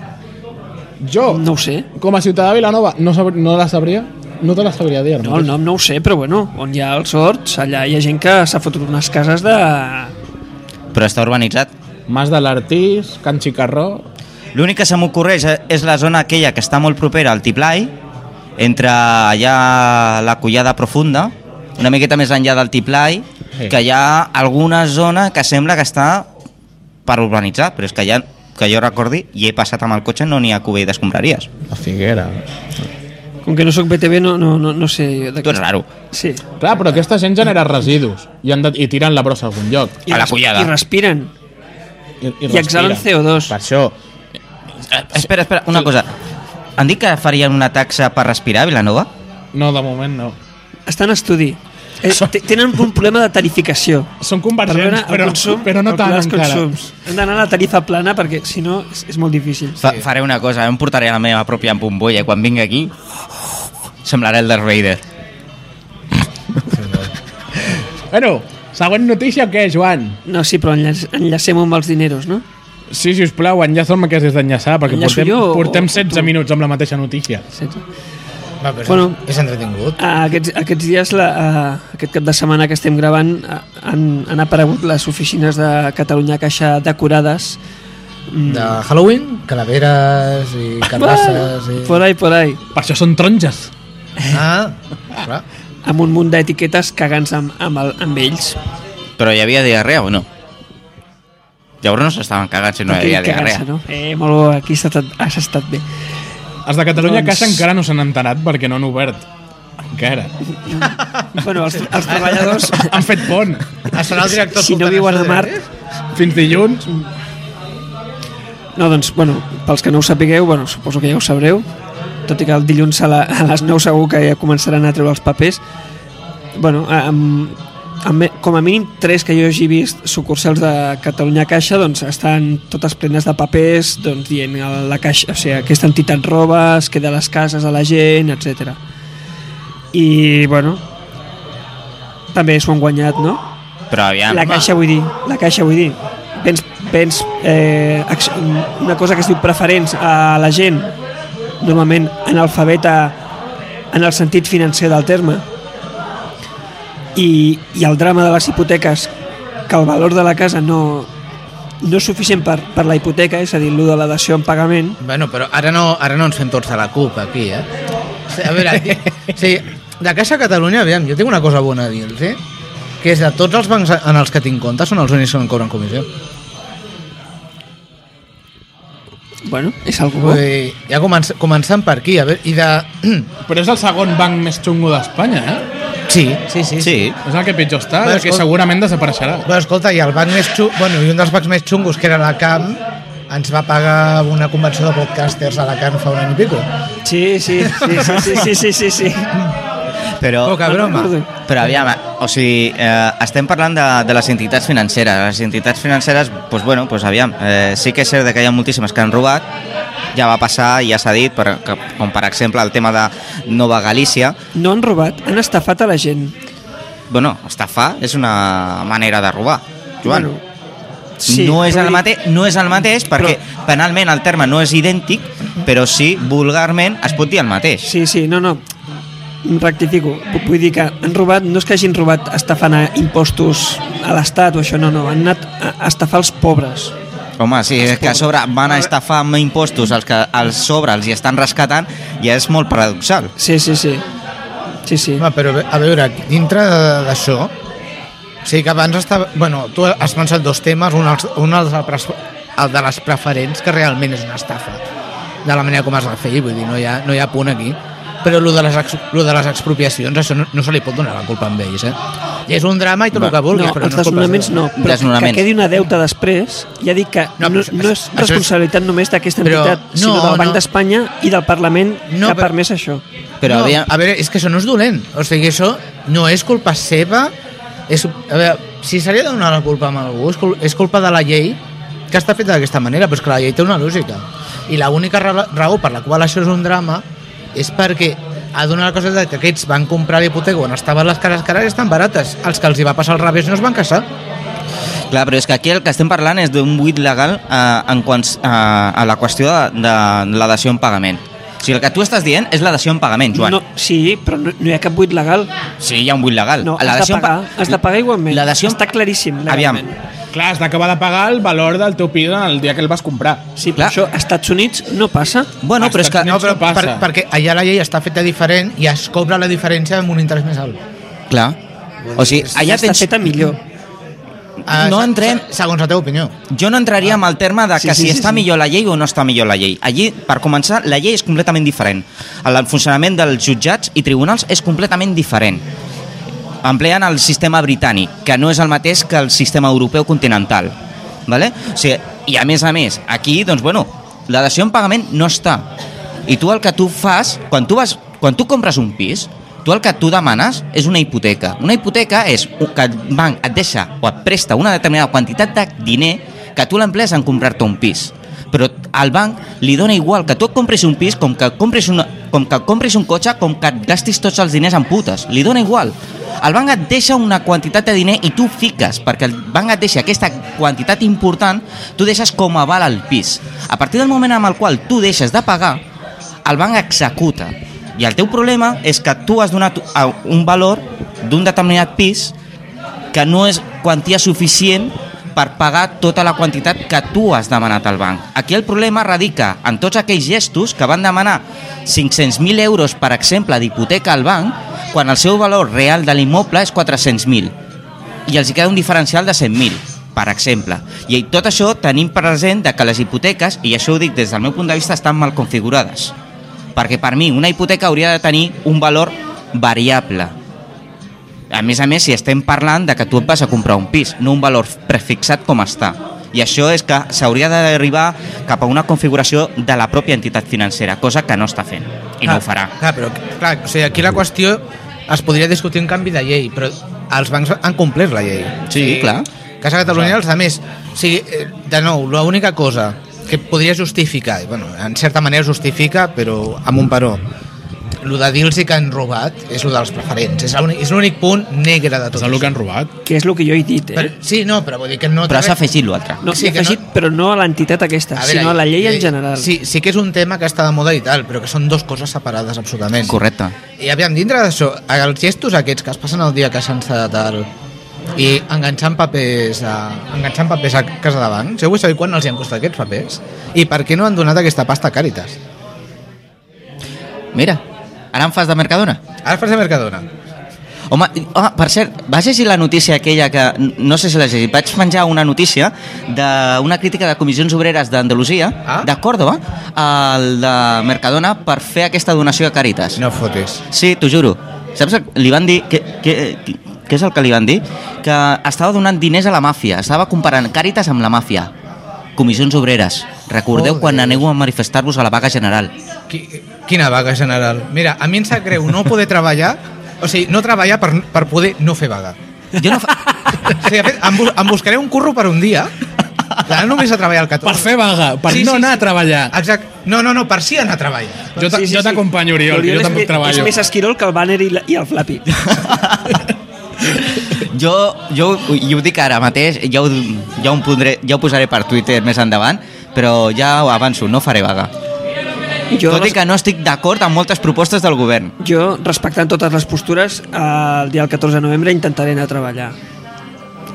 Speaker 1: Jo,
Speaker 2: No ho sé.
Speaker 1: com a ciutadà de Vilanova, no, sab no la sabria. no te la sabria dir. ara
Speaker 2: No, el
Speaker 1: mateix.
Speaker 2: nom no ho sé, però bueno, on hi ha els horts, allà hi ha gent que s'ha fotut unes cases de...
Speaker 3: Però està urbanitzat.
Speaker 1: Mas de l'Artís, Can Xicarró...
Speaker 3: L'únic que se m'ocorreix és la zona aquella que està molt propera al Tiplai, entre allà la Collada Profunda, una miqueta més enllà del Tiplai,
Speaker 1: Sí.
Speaker 3: que hi ha alguna zona que sembla que està per urbanitzar, però és que ja que jo recordi, i he passat amb el cotxe, no n'hi ha cubell d'escombraries.
Speaker 1: La Figuera...
Speaker 2: Com que no sóc BTV, no, no, no, no sé... jo de
Speaker 3: Tu
Speaker 2: què-
Speaker 3: ets raro.
Speaker 2: Sí.
Speaker 1: Clar, però aquesta gent genera residus i, han de, i tiren la brossa a algun lloc.
Speaker 2: I
Speaker 3: A la
Speaker 2: res-
Speaker 3: collada.
Speaker 2: I respiren.
Speaker 1: I, i,
Speaker 2: I exhalen
Speaker 1: respira.
Speaker 2: CO2.
Speaker 1: Per això,
Speaker 3: Eh, espera, espera, una cosa. Han dit que farien una taxa per respirar a Vilanova?
Speaker 1: no, de moment no.
Speaker 2: Estan a estudi. Eh, te- tenen un problema de tarificació.
Speaker 1: Són
Speaker 2: Per veure
Speaker 1: convergents,
Speaker 2: el
Speaker 1: però,
Speaker 2: consum,
Speaker 1: però no tant
Speaker 2: calcular els
Speaker 1: encara.
Speaker 2: consums. Hem d'anar a la tarifa plana perquè, si no, és, és molt difícil.
Speaker 3: Fa, faré una cosa, em portaré la meva pròpia empombolla quan vingui aquí. Semblaré el Darth Vader.
Speaker 1: Bueno, següent notícia o què, Joan?
Speaker 2: No, sí, però enllac enllacem amb els dineros, no?
Speaker 1: Sí, si us plau, enllaça'm que has d'enllaçar, perquè
Speaker 2: Enllaço
Speaker 1: portem,
Speaker 2: jo o-
Speaker 1: portem
Speaker 2: o
Speaker 1: 16
Speaker 2: tu?
Speaker 1: minuts amb la mateixa notícia.
Speaker 2: Sí.
Speaker 4: Va, però
Speaker 2: Bueno.
Speaker 4: bueno. és entretingut.
Speaker 2: Ah, Aquests, aquests dies, la, ah, aquest cap de setmana que estem gravant, ah, han, han aparegut les oficines de Catalunya Caixa decorades. Mm.
Speaker 4: De Halloween, calaveres i carbasses i...
Speaker 2: Por ahí, por ahí.
Speaker 1: Per això són taronges.
Speaker 4: Ah, clar.
Speaker 2: Amb un munt d'etiquetes cagant-se amb, amb, el, amb ells.
Speaker 3: Però hi havia diarrea o no? Llavors no s'estaven cagant si no hi
Speaker 2: Aquell
Speaker 3: havia diarrea.
Speaker 2: cagar-se, No? Eh, molt bo, aquí has estat, has estat bé.
Speaker 1: Els de Catalunya
Speaker 2: Doncs-
Speaker 1: doncs... Caixa encara no s'han enterat perquè no han obert. Encara.
Speaker 2: bueno, els, els treballadors,
Speaker 1: han fet pont.
Speaker 4: Estarà Ah, el director
Speaker 2: si no
Speaker 4: escoltant
Speaker 2: viuen a
Speaker 4: això,
Speaker 2: Mart...
Speaker 4: dirà, "Eh,
Speaker 1: Fins dilluns.
Speaker 2: No, doncs, bueno, pels que no ho sapigueu, bueno, suposo que ja ho sabreu, tot i que el dilluns a, la, a les 9 segur que ja començaran a treure els papers, bueno, amb, amb, com a mínim tres que jo hagi vist sucursals de Catalunya Caixa doncs estan totes plenes de papers doncs dient el- la caixa, o sigui, aquesta entitat roba, es queda a les cases a la gent, etc. I bueno també s'ho han guanyat, no?
Speaker 3: Però aviam,
Speaker 2: La caixa vull dir, la caixa vull dir. Vens, vens eh, acc- una cosa que es diu preferents a la gent, normalment analfabeta en el sentit financer del terme, i, i el drama de les hipoteques, que el valor de la casa no, no és suficient per, per la hipoteca, és a dir, allò de la dació en pagament,
Speaker 4: Bueno, però ara no, ara no ens fem tots a la CUP, aquí, eh? O sigui, A veure, aquí, sí, de Caixa Catalunya, aviam, jo tinc una cosa bona a dir-los, eh? Que és de tots els bancs en els que tinc compte són els únics que no em cobren comissió.
Speaker 2: Oh. bueno, és algú bo.
Speaker 4: Vull dir, ja començ, començant per aquí, a veure, i de...
Speaker 1: Però és el segon banc més xungo d'Espanya, eh?
Speaker 4: Sí, sí, sí. sí.
Speaker 3: sí.
Speaker 1: És el que pitjor està,
Speaker 4: Bé,
Speaker 1: el que
Speaker 4: escolta.
Speaker 1: segurament desapareixerà.
Speaker 4: Bueno, escolta, i el banc més xungo, bueno, i un dels bancs més xungos, que era la CAM, ens va pagar una convenció de podcasters a la CAM fa un any i pico.
Speaker 2: Sí, sí, sí, sí, sí, sí, sí, sí, sí.
Speaker 3: Però,
Speaker 4: Poca broma.
Speaker 3: però aviam, o sigui, eh, estem parlant de, de les entitats financeres. Les entitats financeres, doncs bueno, doncs aviam, eh, sí que és cert que hi ha moltíssimes que han robat, ja va passar i ja s'ha dit, per, que, com per exemple el tema de Nova Galícia,
Speaker 2: No han robat, han estafat a la gent.
Speaker 3: bueno, estafar és una manera de robar. Joan,
Speaker 2: Bueno, sí,
Speaker 3: no, és
Speaker 2: però
Speaker 3: el
Speaker 2: dic-
Speaker 3: mate, no és el mateix perquè penalment el terme no és idèntic, però sí, vulgarment, es pot dir el mateix.
Speaker 2: Sí, sí, no, no. Rectifico. Vu- Vull dir que han robat, no és que hagin robat estafant a impostos a l'Estat o això, no, no. Han anat a a estafar els pobres.
Speaker 3: Home, sí, és que a sobre van a estafar amb impostos els que als sobre els hi estan rescatant i és molt paradoxal.
Speaker 2: Sí, sí, sí. Sí, sí.
Speaker 4: Home, però a veure, dintre de- d'això, o sigui que abans estava... Bueno, tu has pensat dos temes, un, els- un els del pres- el de les preferents, que realment és una estafa, de la manera com es va fer, vull dir, no hi ha, no hi ha punt aquí. Però el de, les, ex- lo de les expropiacions, això no, no se li pot donar la culpa a ells, eh? I és un drama i tot el que vulguis,
Speaker 2: no,
Speaker 4: però
Speaker 2: els
Speaker 4: no és culpa
Speaker 2: desnonaments
Speaker 4: seva.
Speaker 2: no, però
Speaker 3: Desnonaments.
Speaker 2: que quedi una deuta després, ja dic que
Speaker 4: No,
Speaker 2: no, no,
Speaker 4: però això-
Speaker 2: és
Speaker 4: això és-
Speaker 2: responsabilitat només d'aquesta
Speaker 4: Però
Speaker 2: entitat,
Speaker 4: no,
Speaker 2: sinó del Banc
Speaker 4: no.
Speaker 2: d'Espanya i del Parlament
Speaker 4: No,
Speaker 2: que ha
Speaker 4: però-
Speaker 2: permès això.
Speaker 3: Però
Speaker 4: no,
Speaker 3: aviam, ah,
Speaker 4: a veure, és que això no és dolent. O sigui, això no és culpa seva. És, a veure, si se li ha de donar la culpa a algú, és, cul és culpa de la llei que està feta d'aquesta manera, però és que la llei té una lògica. I l'única ra- raó per la qual això és un drama és perquè ha donat la cosa de que aquests van comprar l'hipoteca quan estaven les cares cares i estan barates. Els que els hi va passar al revés no es van casar.
Speaker 3: clar, però és que aquí el que estem parlant és d'un buit legal eh, en quants, eh, a la qüestió de, de la dació en pagament. sigui, el que tu estàs dient és la dació en pagament, Joan.
Speaker 2: No, sí, però no, no hi ha cap buit legal.
Speaker 3: Sí, hi ha un buit legal.
Speaker 2: No,
Speaker 3: La
Speaker 2: has de
Speaker 3: dació en pa-
Speaker 2: pagar, has de pagar igualment.
Speaker 3: La dació en-
Speaker 2: Està claríssim.
Speaker 3: Aviam,
Speaker 2: legalment.
Speaker 1: Clar, has d'acabar de pagar el valor del teu pis en el dia que el vas comprar.
Speaker 2: Sí, però
Speaker 3: Clar.
Speaker 2: això a Estats Units no passa.
Speaker 3: bueno, però és que...
Speaker 1: No,
Speaker 4: No, però
Speaker 1: Això passa.
Speaker 4: per, perquè allà la llei està feta diferent i es cobra la diferència amb un interès més alt.
Speaker 3: Clar. O sigui, allà
Speaker 2: està
Speaker 3: tens...
Speaker 2: feta millor.
Speaker 4: Ah,
Speaker 3: No
Speaker 4: se-
Speaker 3: entrem-
Speaker 4: se- Segons la teva opinió.
Speaker 3: Jo no entraria amb el terme de
Speaker 2: Ah, Sí,
Speaker 3: que
Speaker 2: sí,
Speaker 3: si
Speaker 2: sí,
Speaker 3: està
Speaker 2: sí.
Speaker 3: millor la llei o no està millor la llei. Allí, per començar, la llei és completament diferent. El funcionament dels jutjats i tribunals és completament diferent. Empleen el sistema britànic, que no és el mateix que el sistema europeu continental. Vale? O sigui, I a més a més, aquí, doncs, bueno, la dació en pagament no està. I tu el que tu fas, quan tu, vas, quan tu compres un pis, tu el que tu demanes és una hipoteca. Una hipoteca és u- que el banc et deixa o et presta una determinada quantitat de diner que tu l'emplees en comprar-te un pis. Però al banc li dona igual que tu et compris un pis com que et compris, una, com que et compris un cotxe com que et gastis tots els diners en putes. Li dona igual. El banc et deixa una quantitat de diner i tu fiques, perquè el banc et deixa aquesta quantitat important, tu deixes com a val al pis. A partir del moment amb el qual tu deixes de pagar, el banc executa. I el teu problema és que tu has donat a un valor d'un determinat pis que no és quantia suficient per pagar tota la quantitat que tu has demanat al banc. Aquí el problema radica en tots aquells gestos que van demanar 500.000 euros, per exemple, d'hipoteca al banc, quan el seu valor real de l'immoble és 400.000 i els hi queda un diferencial de 100.000, per exemple. I tot això tenim present de que les hipoteques, i això ho dic des del meu punt de vista, estan mal configurades. Perquè per mi una hipoteca hauria de tenir un valor variable. A més a més, si estem parlant de que tu et vas a comprar un pis, no un valor prefixat com està. I això és que s'hauria d'arribar cap a una configuració de la pròpia entitat financera, cosa que no està fent i Ah. no ho farà.
Speaker 4: Clar, però clar, o sigui, aquí la qüestió es podria discutir un canvi de llei, però els bancs han complert la llei.
Speaker 3: Sí, clar.
Speaker 4: Casa Catalunya i els altres. O sigui, eh, de nou, l'única cosa que podria justificar, i, bueno, en certa manera justifica, però amb un però, el de dir-los que han robat és el dels preferents. És l'únic- és l'únic punt negre de
Speaker 1: És
Speaker 4: tot.
Speaker 1: el que han robat.
Speaker 2: Que és el que jo he dit, eh?
Speaker 4: Però, sí, no, però vull dir que no...
Speaker 3: Però has afegit l'altre.
Speaker 2: No,
Speaker 4: Sí,
Speaker 2: sí, he
Speaker 4: que no-
Speaker 2: afegit, no... però no a l'entitat aquesta, a sinó a la llei en general.
Speaker 4: eh, Sí, sí que és un tema que està de moda i tal, però que són dues coses separades absolutament.
Speaker 3: Correcte.
Speaker 4: I aviam, dintre d'això, els gestos aquests que es passen el dia que s'han sedat el... i enganxant papers, a, enganxant papers a casa de banc, jo vull saber quan els hi han costat aquests papers i per què no han donat aquesta pasta a Càritas.
Speaker 3: Mira, ara em fas de Mercadona.
Speaker 4: Ara fas de Mercadona.
Speaker 3: Home, ah, per cert, vas llegir la notícia aquella que... No sé si l'has llegit. Vaig menjar una notícia d'una crítica de comissions obreres d'Andalusia,
Speaker 4: Ah.
Speaker 3: de Còrdoba, al de Mercadona, per fer aquesta donació a Càritas.
Speaker 4: No fotis.
Speaker 3: Sí, t'ho juro. Saps? el- Li van dir... Que, que, que, què és el que li van dir? Que estava donant diners a la màfia. Estava comparant Càritas amb la màfia. Comissions obreres. Recordeu
Speaker 4: Joder.
Speaker 3: quan aneu a manifestar-vos a la vaga general.
Speaker 4: Qui, quina vaga general. Mira, a mi em sap greu no poder treballar, o sigui, no treballar per, per poder no fer vaga.
Speaker 3: Jo no fa...
Speaker 4: O sigui, de fet, em, bus- em buscaré un curro per un dia, d'anar només a treballar el 14.
Speaker 1: Per fer vaga, per
Speaker 4: Sí,
Speaker 1: no
Speaker 4: sí,
Speaker 1: anar
Speaker 4: sí. Ah,
Speaker 1: a treballar.
Speaker 4: Exacte. No, no, no, per si anar a treballar.
Speaker 1: Jo t'a- jo t'acompanyo, Oriol, que jo
Speaker 2: és
Speaker 1: tampoc
Speaker 2: mi-
Speaker 1: treballo.
Speaker 2: És més esquirol que el banner i, la, i el flappy.
Speaker 3: jo, jo i ho dic ara mateix, ja ho, ja, ho pondré, ja ho posaré per Twitter més endavant, però ja ho avanço, no faré vaga.
Speaker 2: Jo,
Speaker 3: Tot i que no estic d'acord amb moltes propostes del govern.
Speaker 2: jo, respectant totes les postures, el dia del 14 de novembre intentaré anar a treballar.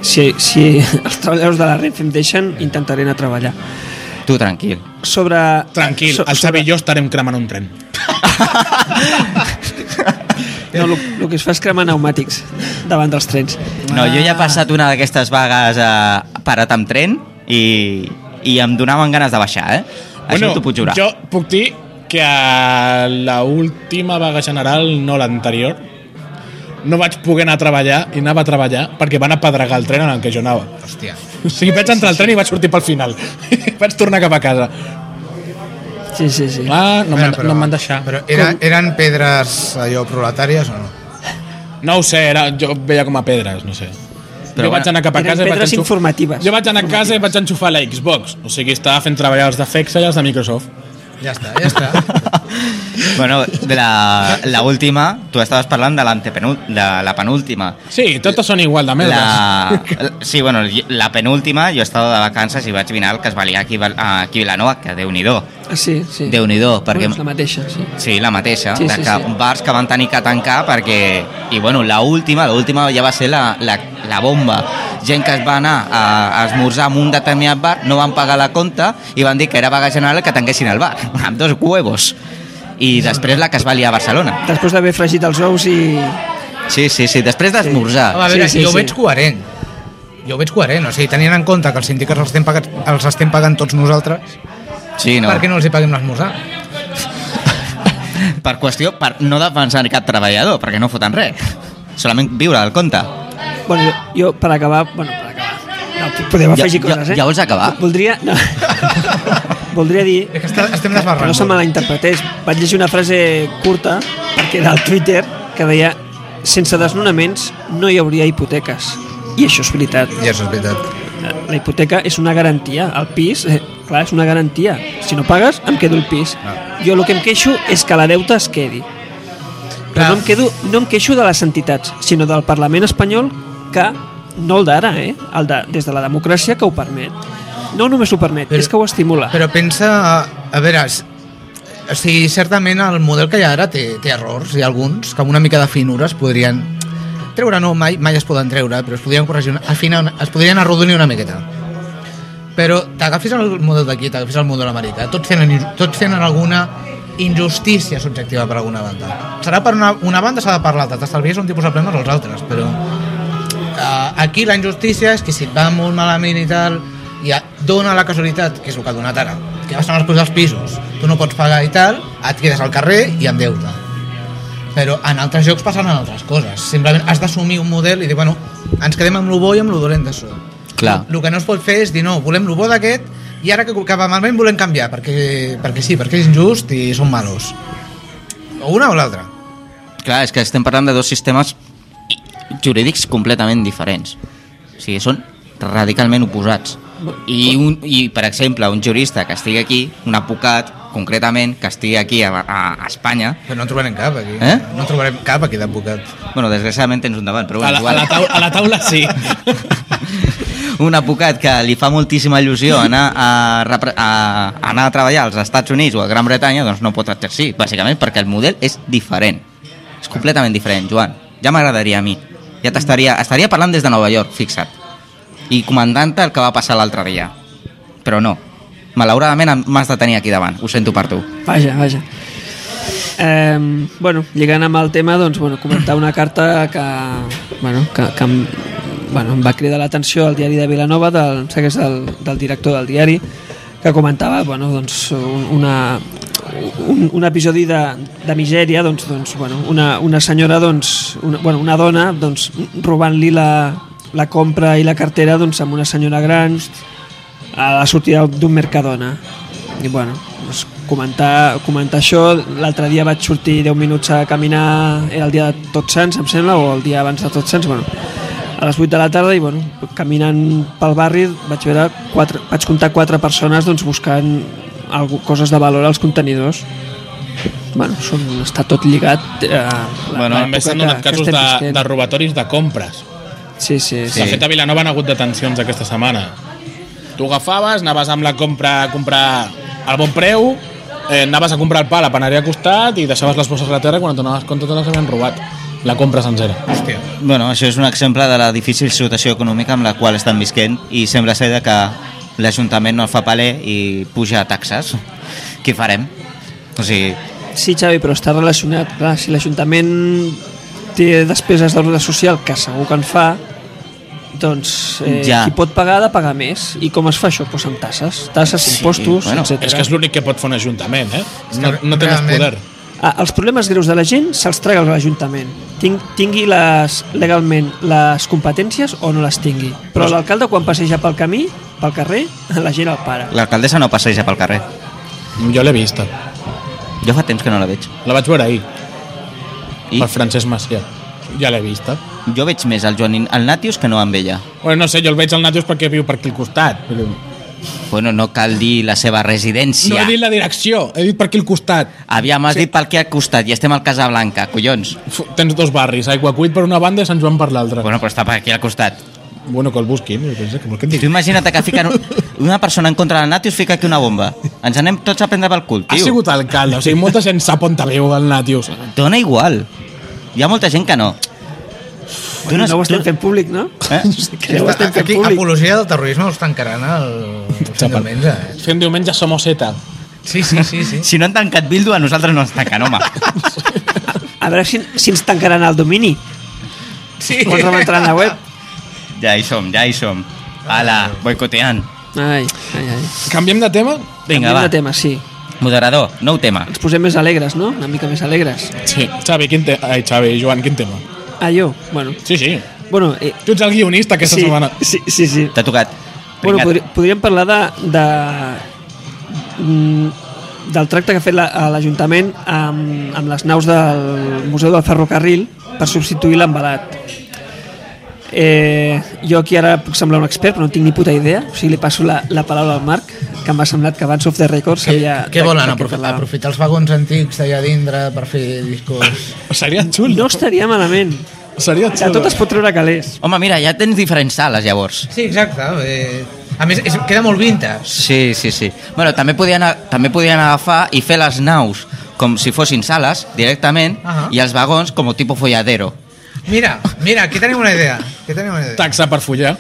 Speaker 2: Si, si els treballadors de la Renfe em deixen, intentaré anar a treballar.
Speaker 3: Tu tranquil.
Speaker 2: Sobre...
Speaker 1: Tranquil,
Speaker 2: so-
Speaker 1: el Xavi i jo estarem cremant un tren.
Speaker 2: No, el, el que es fa és cremar pneumàtics davant dels trens.
Speaker 3: No, jo ja he passat una d'aquestes vagues eh, parat amb tren i, i em donaven ganes de baixar, eh? Això t'ho puc jurar.
Speaker 1: Jo puc dir que a la última vaga general, no l'anterior, no vaig poder anar a treballar i anava a treballar perquè van apedregar el tren en el que jo anava.
Speaker 4: Hòstia.
Speaker 1: O sigui, vaig entrar al tren i vaig sortir pel final. vaig tornar cap a casa.
Speaker 2: Sí, sí, sí.
Speaker 1: Ah, no m'han no m'han deixat.
Speaker 4: Però era, eren pedres allò proletàries o no?
Speaker 1: No ho sé, era, jo veia com a pedres, no sé. Però
Speaker 3: Però
Speaker 1: jo vaig
Speaker 3: bueno,
Speaker 1: anar cap a
Speaker 2: eren
Speaker 1: casa i vaig
Speaker 2: pedres
Speaker 1: enxufar-
Speaker 2: informatives.
Speaker 1: Jo vaig anar a casa i vaig enxufar la Xbox. O sigui, estava fent treballar els de FEXA i els de Microsoft.
Speaker 4: Ja està, ja està.
Speaker 3: Bueno, de la, la última, tu estaves parlant de, l'antepenul- de la penúltima.
Speaker 1: Sí, totes són igual de merdes.
Speaker 3: La, sí, bueno, la penúltima, jo estava de vacances i vaig mirar el que es valia aquí, a Val- aquí a Vilanova, que déu-n'hi-do.
Speaker 2: Ah, Sí, sí.
Speaker 3: Déu-n'hi-do, perquè...
Speaker 2: Bueno, és la mateixa, sí.
Speaker 3: Sí, la mateixa,
Speaker 2: Sí,
Speaker 3: sí, de
Speaker 2: sí,
Speaker 3: que
Speaker 2: sí.
Speaker 3: bars que van tenir que tancar perquè... I bueno, la última, la última ja va ser la, la, la bomba. Gent que es va anar a, a esmorzar en un determinat bar, no van pagar la compta i van dir que era vaga general que tanquessin el bar, amb dos huevos. I després la que es va liar a Barcelona.
Speaker 2: Després d'haver fregit els ous i...
Speaker 3: Sí, sí, sí, després d'esmorzar.
Speaker 4: A veure,
Speaker 2: Ah, Sí, sí,
Speaker 4: jo ho
Speaker 2: sí.
Speaker 4: veig coherent. Jo ho veig coherent, o sigui, tenint en compte que els sindicats els estem, pagat, els estem pagant tots nosaltres,
Speaker 3: Sí, no.
Speaker 4: no. per què no els hi paguem l'esmorzar?
Speaker 3: Per qüestió, per no defensar cap treballador, perquè no foten res. Solament viure del compte.
Speaker 2: Bueno, jo, jo per acabar... Bueno, per acabar... No, podem
Speaker 3: Ja-
Speaker 2: afegir
Speaker 3: ja-
Speaker 2: coses, eh?
Speaker 3: ja vols acabar?
Speaker 2: Voldria... No. Voldria dir...
Speaker 4: És que està, estem
Speaker 2: Que
Speaker 4: desbarrant.
Speaker 2: no se me la interpretés. Vaig llegir una frase curta, perquè era al Twitter, que deia sense desnonaments no hi hauria hipoteques. I això és veritat.
Speaker 4: Ja, això és veritat.
Speaker 2: La hipoteca és una garantia. El pis, eh, clar, és una garantia. Si no pagues, em quedo el pis. Jo el que em queixo és que la deuta es quedi. Però
Speaker 4: Clar.
Speaker 2: no em, quedo, no em queixo de les entitats, sinó del Parlament espanyol que, no el d'ara, eh, el de, des de la democràcia que ho permet. No només ho permet,
Speaker 4: Però-
Speaker 2: és que ho estimula.
Speaker 4: Però pensa... A veure, s- o sigui, certament el model que hi ha ara té, té errors, hi ha alguns que amb una mica de finura es podrien... Treure no, mai, mai es poden treure, però es podrien corregir, una, afinar, una- es podrien arrodonir una miqueta. Però t'agafis el model d'aquí, t'agafis el model americà, tots tenen, inju- tots tenen alguna injustícia subjectiva per alguna banda. Serà per una, una banda s'ha de parlar, t'estalvies un tipus de problemes als altres, però eh, aquí la injustícia és que si et va molt malament i tal i a- dona la casualitat, que és el que ha donat ara que vas anar als pisos, tu no pots pagar i tal, et quedes al carrer i endeuta però en altres jocs passen altres coses, simplement has d'assumir un model i dir, bueno, ens quedem amb lo bo i amb lo dolent d'això
Speaker 3: Clar.
Speaker 4: el que no es pot fer és dir, no, volem lo bo d'aquest i ara que, que va malament volem canviar perquè, perquè sí, perquè és injust i són malos o una o l'altra
Speaker 3: Clar, és que estem parlant de dos sistemes i- jurídics completament diferents. O sigui, són radicalment oposats. I, un, I, per exemple, un jurista que estigui aquí, un advocat, concretament, que estigui aquí a, a, a Espanya...
Speaker 4: però no en trobarem cap aquí
Speaker 3: Eh?
Speaker 4: no en trobarem cap aquí d'advocat
Speaker 3: Bueno, desgraciadament tens un davant, però
Speaker 1: A
Speaker 3: bueno,
Speaker 1: la, a la, tau a la taula sí.
Speaker 3: un advocat que li fa moltíssima il·lusió anar a, repre- a, a anar a treballar als Estats Units o a Gran Bretanya, doncs no pot exercir, bàsicament perquè el model és diferent. És completament diferent, Joan. Ja m'agradaria a mi. Ja t'estaria estaria parlant des de Nova York, fixa't. I comandant-te el que va passar l'altre dia. Però no. Malauradament em- m'has de tenir aquí davant. Ho sento per tu.
Speaker 2: Vaja, vaja. Eh, bueno, lligant amb el tema, doncs, bueno, comentar una carta que, bueno, que, que em, bueno, em va cridar l'atenció al diari de Vilanova, del, em sembla que és del, del director del diari, que comentava bueno, doncs, un- una, un, un episodi de, de misèria, doncs, doncs, bueno, una, una senyora, doncs, una, bueno, una dona, doncs, robant-li la, la compra i la cartera doncs, amb una senyora gran, a la sortida d'un Mercadona i bueno, doncs comentar, comentar això l'altre dia vaig sortir 10 minuts a caminar era el dia de Tots Sants em sembla o el dia abans de Tots Sants bueno, a les 8 de la tarda i bueno, caminant pel barri vaig veure quatre, vaig comptar quatre persones doncs, buscant algú, coses de valor als contenidors bueno, són, està tot lligat eh, la-
Speaker 1: Bueno,
Speaker 2: l'època
Speaker 1: també s'han
Speaker 2: que-
Speaker 1: donat
Speaker 2: que
Speaker 1: casos
Speaker 2: estem
Speaker 1: de,
Speaker 2: vivint.
Speaker 1: de robatoris de compres.
Speaker 2: sí, sí,
Speaker 1: Sí.
Speaker 2: sí.
Speaker 1: De fet, a Vilanova han hagut detencions aquesta setmana. Tu agafaves, anaves amb la compra a comprar al bon preu, eh, anaves a comprar el pa a la panaderia al costat i deixaves les bosses a la terra i quan et donaves compte te les havien robat. La compra sencera.
Speaker 4: hòstia
Speaker 3: Bueno, això és un exemple de la difícil situació econòmica amb la qual estan visquent i sembla ser de que l'Ajuntament no el fa paler i puja taxes. Què farem? O sigui,
Speaker 2: Sí, Xavi, però està relacionat. Clar, si l'Ajuntament té despeses d'ordre social, que segur que en fa, doncs eh,
Speaker 3: Ja.
Speaker 2: qui pot pagar ha de pagar més. I com es fa això? Pues amb tasses. Tasses,
Speaker 3: Sí,
Speaker 2: impostos, bueno,
Speaker 3: bueno,
Speaker 1: És
Speaker 2: etc.
Speaker 1: que és l'únic que pot fer un ajuntament, eh?
Speaker 4: És que
Speaker 1: No, no tens
Speaker 4: realment-
Speaker 1: poder.
Speaker 2: Ah, els problemes greus de la gent se'ls traga l'Ajuntament. Ting, tingui les, legalment les competències o no les tingui. Però l'alcalde, quan passeja pel camí, pel carrer, la gent el para.
Speaker 3: l'alcaldessa no passeja pel carrer.
Speaker 1: Jo l'he vista.
Speaker 3: Jo fa temps que no la veig.
Speaker 1: La vaig veure ahir,
Speaker 3: I
Speaker 1: per Francesc Macià. Ja l'he vista.
Speaker 3: jo veig més el Joanín, el Natius que no amb ella.
Speaker 1: Bueno, no sé, jo el veig al Natius perquè viu per aquí al costat. Però...
Speaker 3: Bueno, no cal dir la seva
Speaker 1: No
Speaker 3: residència.
Speaker 1: he dit la direcció, he dit per aquí al costat.
Speaker 3: Aviam, has dit pel que ha costat i estem al Casablanca, collons.
Speaker 1: Fu- Tens dos barris, Aigua Cuit per una banda i Sant Joan per l'altra. Bueno.
Speaker 3: Bueno, però està per aquí al costat.
Speaker 1: bueno, que el busquin. jo penso Que vol que et
Speaker 3: Tu
Speaker 1: digui.
Speaker 3: imagina't que fiquen un- una persona en contra de la Nati i us fica aquí una bomba. Ens anem tots a prendre pel cul,
Speaker 1: Ha
Speaker 3: tio.
Speaker 1: sigut alcalde, o sigui, molta gent sap on viu el Natius.
Speaker 3: Dona igual. Hi ha molta gent que no. Tu
Speaker 2: No, no ho
Speaker 3: tu-
Speaker 2: estem fent públic, no?
Speaker 3: Eh?
Speaker 2: Que no ho estem fent
Speaker 4: Aquí,
Speaker 2: públic.
Speaker 4: apologia del terrorisme els tancaran el, el diumenge. eh?
Speaker 1: Fent diumenge som Z.
Speaker 4: Sí, sí, sí. sí.
Speaker 3: Si no han tancat Bildu, a nosaltres no ens tanquen, home.
Speaker 2: A veure si, si ens tancaran el domini.
Speaker 4: sí.
Speaker 2: Quan rebentaran la web.
Speaker 3: Ja hi som, ja hi som. Ala, boicoteant.
Speaker 2: Ai, ai, ai.
Speaker 1: Canviem de tema?
Speaker 3: Vinga,
Speaker 2: Canviem
Speaker 3: va.
Speaker 2: de tema, sí.
Speaker 3: Moderador, nou tema.
Speaker 2: Ens posem més alegres, no? Una mica més alegres.
Speaker 3: Sí.
Speaker 1: Xavi, quin te... Ai, Xavi, Joan, quin tema?
Speaker 2: Ah, jo? Bueno,
Speaker 1: Sí, sí.
Speaker 2: bueno eh,
Speaker 1: Tu ets el guionista aquesta
Speaker 2: sí,
Speaker 1: setmana.
Speaker 2: sí, sí, sí.
Speaker 3: T'ha tocat.
Speaker 2: Bueno,
Speaker 3: Pringat.
Speaker 2: podri, podríem parlar de, de, mm, del tracte que ha fet la- a l'Ajuntament amb, amb les naus del Museu del Ferrocarril per substituir l'embalat. Eh, jo aquí ara puc semblar un expert, però no tinc ni puta idea. O sigui, li passo la, la paraula al Marc, que m'ha semblat que abans of the record
Speaker 4: Què,
Speaker 2: sabia...
Speaker 4: què
Speaker 2: de- de
Speaker 4: volen?
Speaker 2: què
Speaker 4: Aprofitar,
Speaker 2: parlàvem.
Speaker 4: aprofitar els vagons antics d'allà dintre per fer discos...
Speaker 1: Seria xul.
Speaker 2: No estaria malament.
Speaker 1: Seria
Speaker 2: De
Speaker 1: xul.
Speaker 2: tot es pot treure calés.
Speaker 3: Home, mira, ja tens diferents sales, llavors.
Speaker 4: Sí, exacte. Eh, a més, és, queda molt vintage.
Speaker 3: Sí, sí, sí. Bueno, també podien, a- també podien agafar i fer les naus com si fossin sales directament
Speaker 4: Ahà.
Speaker 3: i els vagons com a tipus folladero.
Speaker 4: Mira, mira, aquí tenim una idea. Aquí tenim una idea.
Speaker 1: Taxa per follar.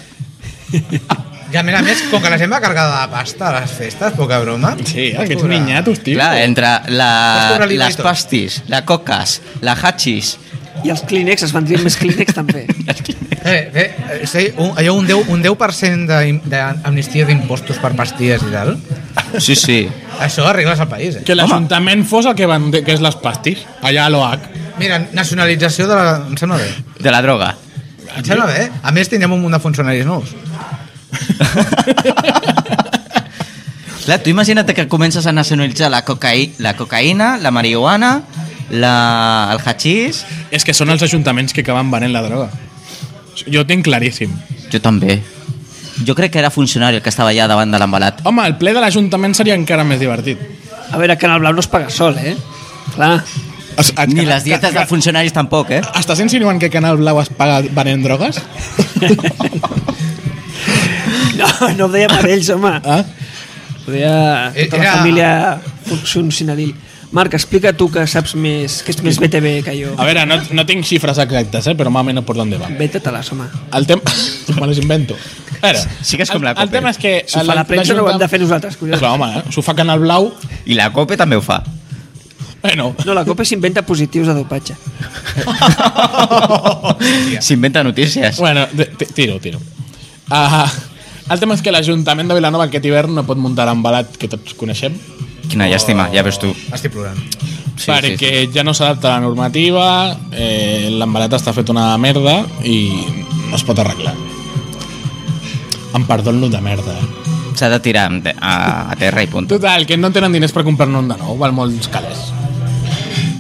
Speaker 4: Ja, mira, a més, com que la gent va cargada de pasta a les festes, poca broma.
Speaker 1: Sí, ah,
Speaker 4: Vas
Speaker 1: aquests
Speaker 4: cobrar-
Speaker 1: niñatos, tio.
Speaker 3: Clar, entre
Speaker 4: Vas
Speaker 3: la,
Speaker 4: cobrar
Speaker 3: les
Speaker 4: l'Ibaito.
Speaker 3: pastis, la coques, la hachis...
Speaker 2: I els clínex es vendrien més clínex també.
Speaker 4: Eh, eh, eh, sí, un, allò un 10%, un 10 d'im- d'amnistia d'impostos per pastilles i tal.
Speaker 3: Sí, sí.
Speaker 4: Això arregles el país, eh?
Speaker 1: Que l'Ajuntament fos el que van que és les pastis, allà a l'OH.
Speaker 4: Mira, nacionalització de la... Em sembla bé.
Speaker 3: De la droga.
Speaker 4: Em sembla bé. eh? A més, tindrem un munt de funcionaris nous.
Speaker 3: Clar, tu imagina't que comences a nacionalitzar la, cocaï la cocaïna, la marihuana, la, el hachís...
Speaker 1: És que són els ajuntaments que acaben venent la droga. Jo ho tinc claríssim.
Speaker 3: Jo també. Jo crec que era funcionari el que estava allà davant de l'embalat.
Speaker 1: Home, el ple de l'Ajuntament seria encara més divertit.
Speaker 2: A veure, Canal Blau no es paga sol, eh? Clar.
Speaker 1: Es- es-
Speaker 3: Ni les dietes de funcionaris tampoc, eh?
Speaker 1: Estàs insinuant que Canal Blau es paga venent drogues?
Speaker 2: No, no ho deia per ells, home.
Speaker 1: Ah?
Speaker 2: Ho deia
Speaker 4: Eh,
Speaker 2: tota la
Speaker 4: era-
Speaker 2: família funcionaril. Marc, explica tu que saps més, que ets més BTV que jo.
Speaker 1: A veure, no, no tinc xifres exactes, eh, però mame no per on va.
Speaker 2: Vete-te-les, home.
Speaker 1: El tema... Me les invento. A veure,
Speaker 3: Sí que és com
Speaker 1: el,
Speaker 3: la
Speaker 1: el
Speaker 3: Coppel.
Speaker 1: tema és que...
Speaker 2: Si ho fa la premsa no ho hem de fer nosaltres,
Speaker 1: És
Speaker 2: collons.
Speaker 1: va, home, eh? S'ho fa Canal Blau...
Speaker 3: I la COPE també ho fa.
Speaker 1: Bueno,
Speaker 2: No, la Copa s'inventa positius de dopatge.
Speaker 3: S'inventa notícies.
Speaker 1: bueno de- ti- tiro, tiro. Uh, el tema és que l'Ajuntament de Vilanova aquest hivern no pot muntar l'embalat que tots coneixem
Speaker 3: Quina llàstima, ja veus tu.
Speaker 4: Estic plorant.
Speaker 1: sí, perquè sí, sí. ja no s'adapta a la normativa, eh, l'embalat està fet una merda i no es pot arreglar. Em perdono de merda. eh?
Speaker 3: S'ha de tirar amb te- a, a terra i punt.
Speaker 1: Total, que no tenen diners per comprar-ne un de nou, val molts calés.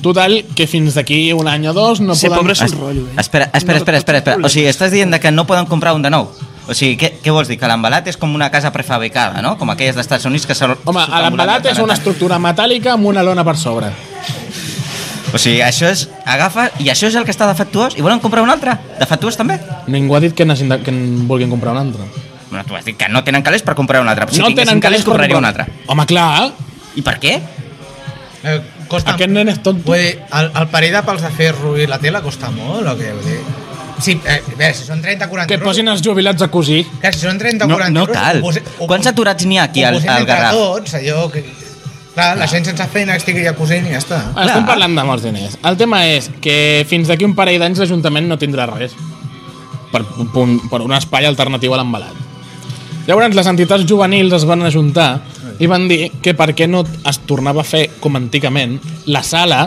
Speaker 1: Total, que fins d'aquí un any o dos no
Speaker 2: Ser
Speaker 1: poden...
Speaker 2: pobre és
Speaker 3: Es-
Speaker 2: un rotllo, eh?
Speaker 3: Espera, espera,
Speaker 2: No,
Speaker 3: espera,
Speaker 2: tots
Speaker 3: espera,
Speaker 2: els
Speaker 3: espera. O
Speaker 2: problemes.
Speaker 3: sigui, estàs dient de que no poden comprar un de nou. O sigui, què, què vols dir? Que l'embalat és com una casa prefabricada, no? Com aquelles dels Estats Units que s'ha...
Speaker 1: Home, a l'embalat és una estructura metàl·lica amb una lona per sobre.
Speaker 3: O sigui, això és... Agafa... I això és el que està defectuós? I volen comprar un altre? Defectuós també?
Speaker 1: Ningú ha dit que, necessita, que en vulguin comprar un altre.
Speaker 3: Bueno, tu has dit que no tenen calés per comprar un altre. Si tinguessin calés,
Speaker 1: per
Speaker 3: compraria un
Speaker 1: comprar-
Speaker 3: altre.
Speaker 1: Home, clar,
Speaker 3: I per què?
Speaker 4: Eh, costa...
Speaker 1: aquest nen és tonto.
Speaker 4: Vull dir, el, el parell de pals de ferro i la tela costa molt, o què? Vull dir... Sí, eh, bé, si són 30 40
Speaker 1: Que
Speaker 4: euros...
Speaker 1: posin els jubilats a cosir.
Speaker 4: Que si són 30
Speaker 3: No,
Speaker 4: 40
Speaker 3: no
Speaker 4: euros...
Speaker 3: cal.
Speaker 4: ho posi- ho-
Speaker 3: Quants aturats n'hi ha aquí
Speaker 4: ho
Speaker 3: al,
Speaker 4: posem
Speaker 3: al
Speaker 4: entre
Speaker 3: Garraf? Ah.
Speaker 4: tots, allò que... Clar, la gent sense feina que estigui ja cosint i ja està.
Speaker 1: Estem parlant de molts diners. El tema és que fins d'aquí un parell d'anys l'Ajuntament no tindrà res per, per, un- per un espai alternatiu a l'embalat. Llavors, les entitats juvenils es van ajuntar i van dir que per què no es tornava a fer, com antigament, la sala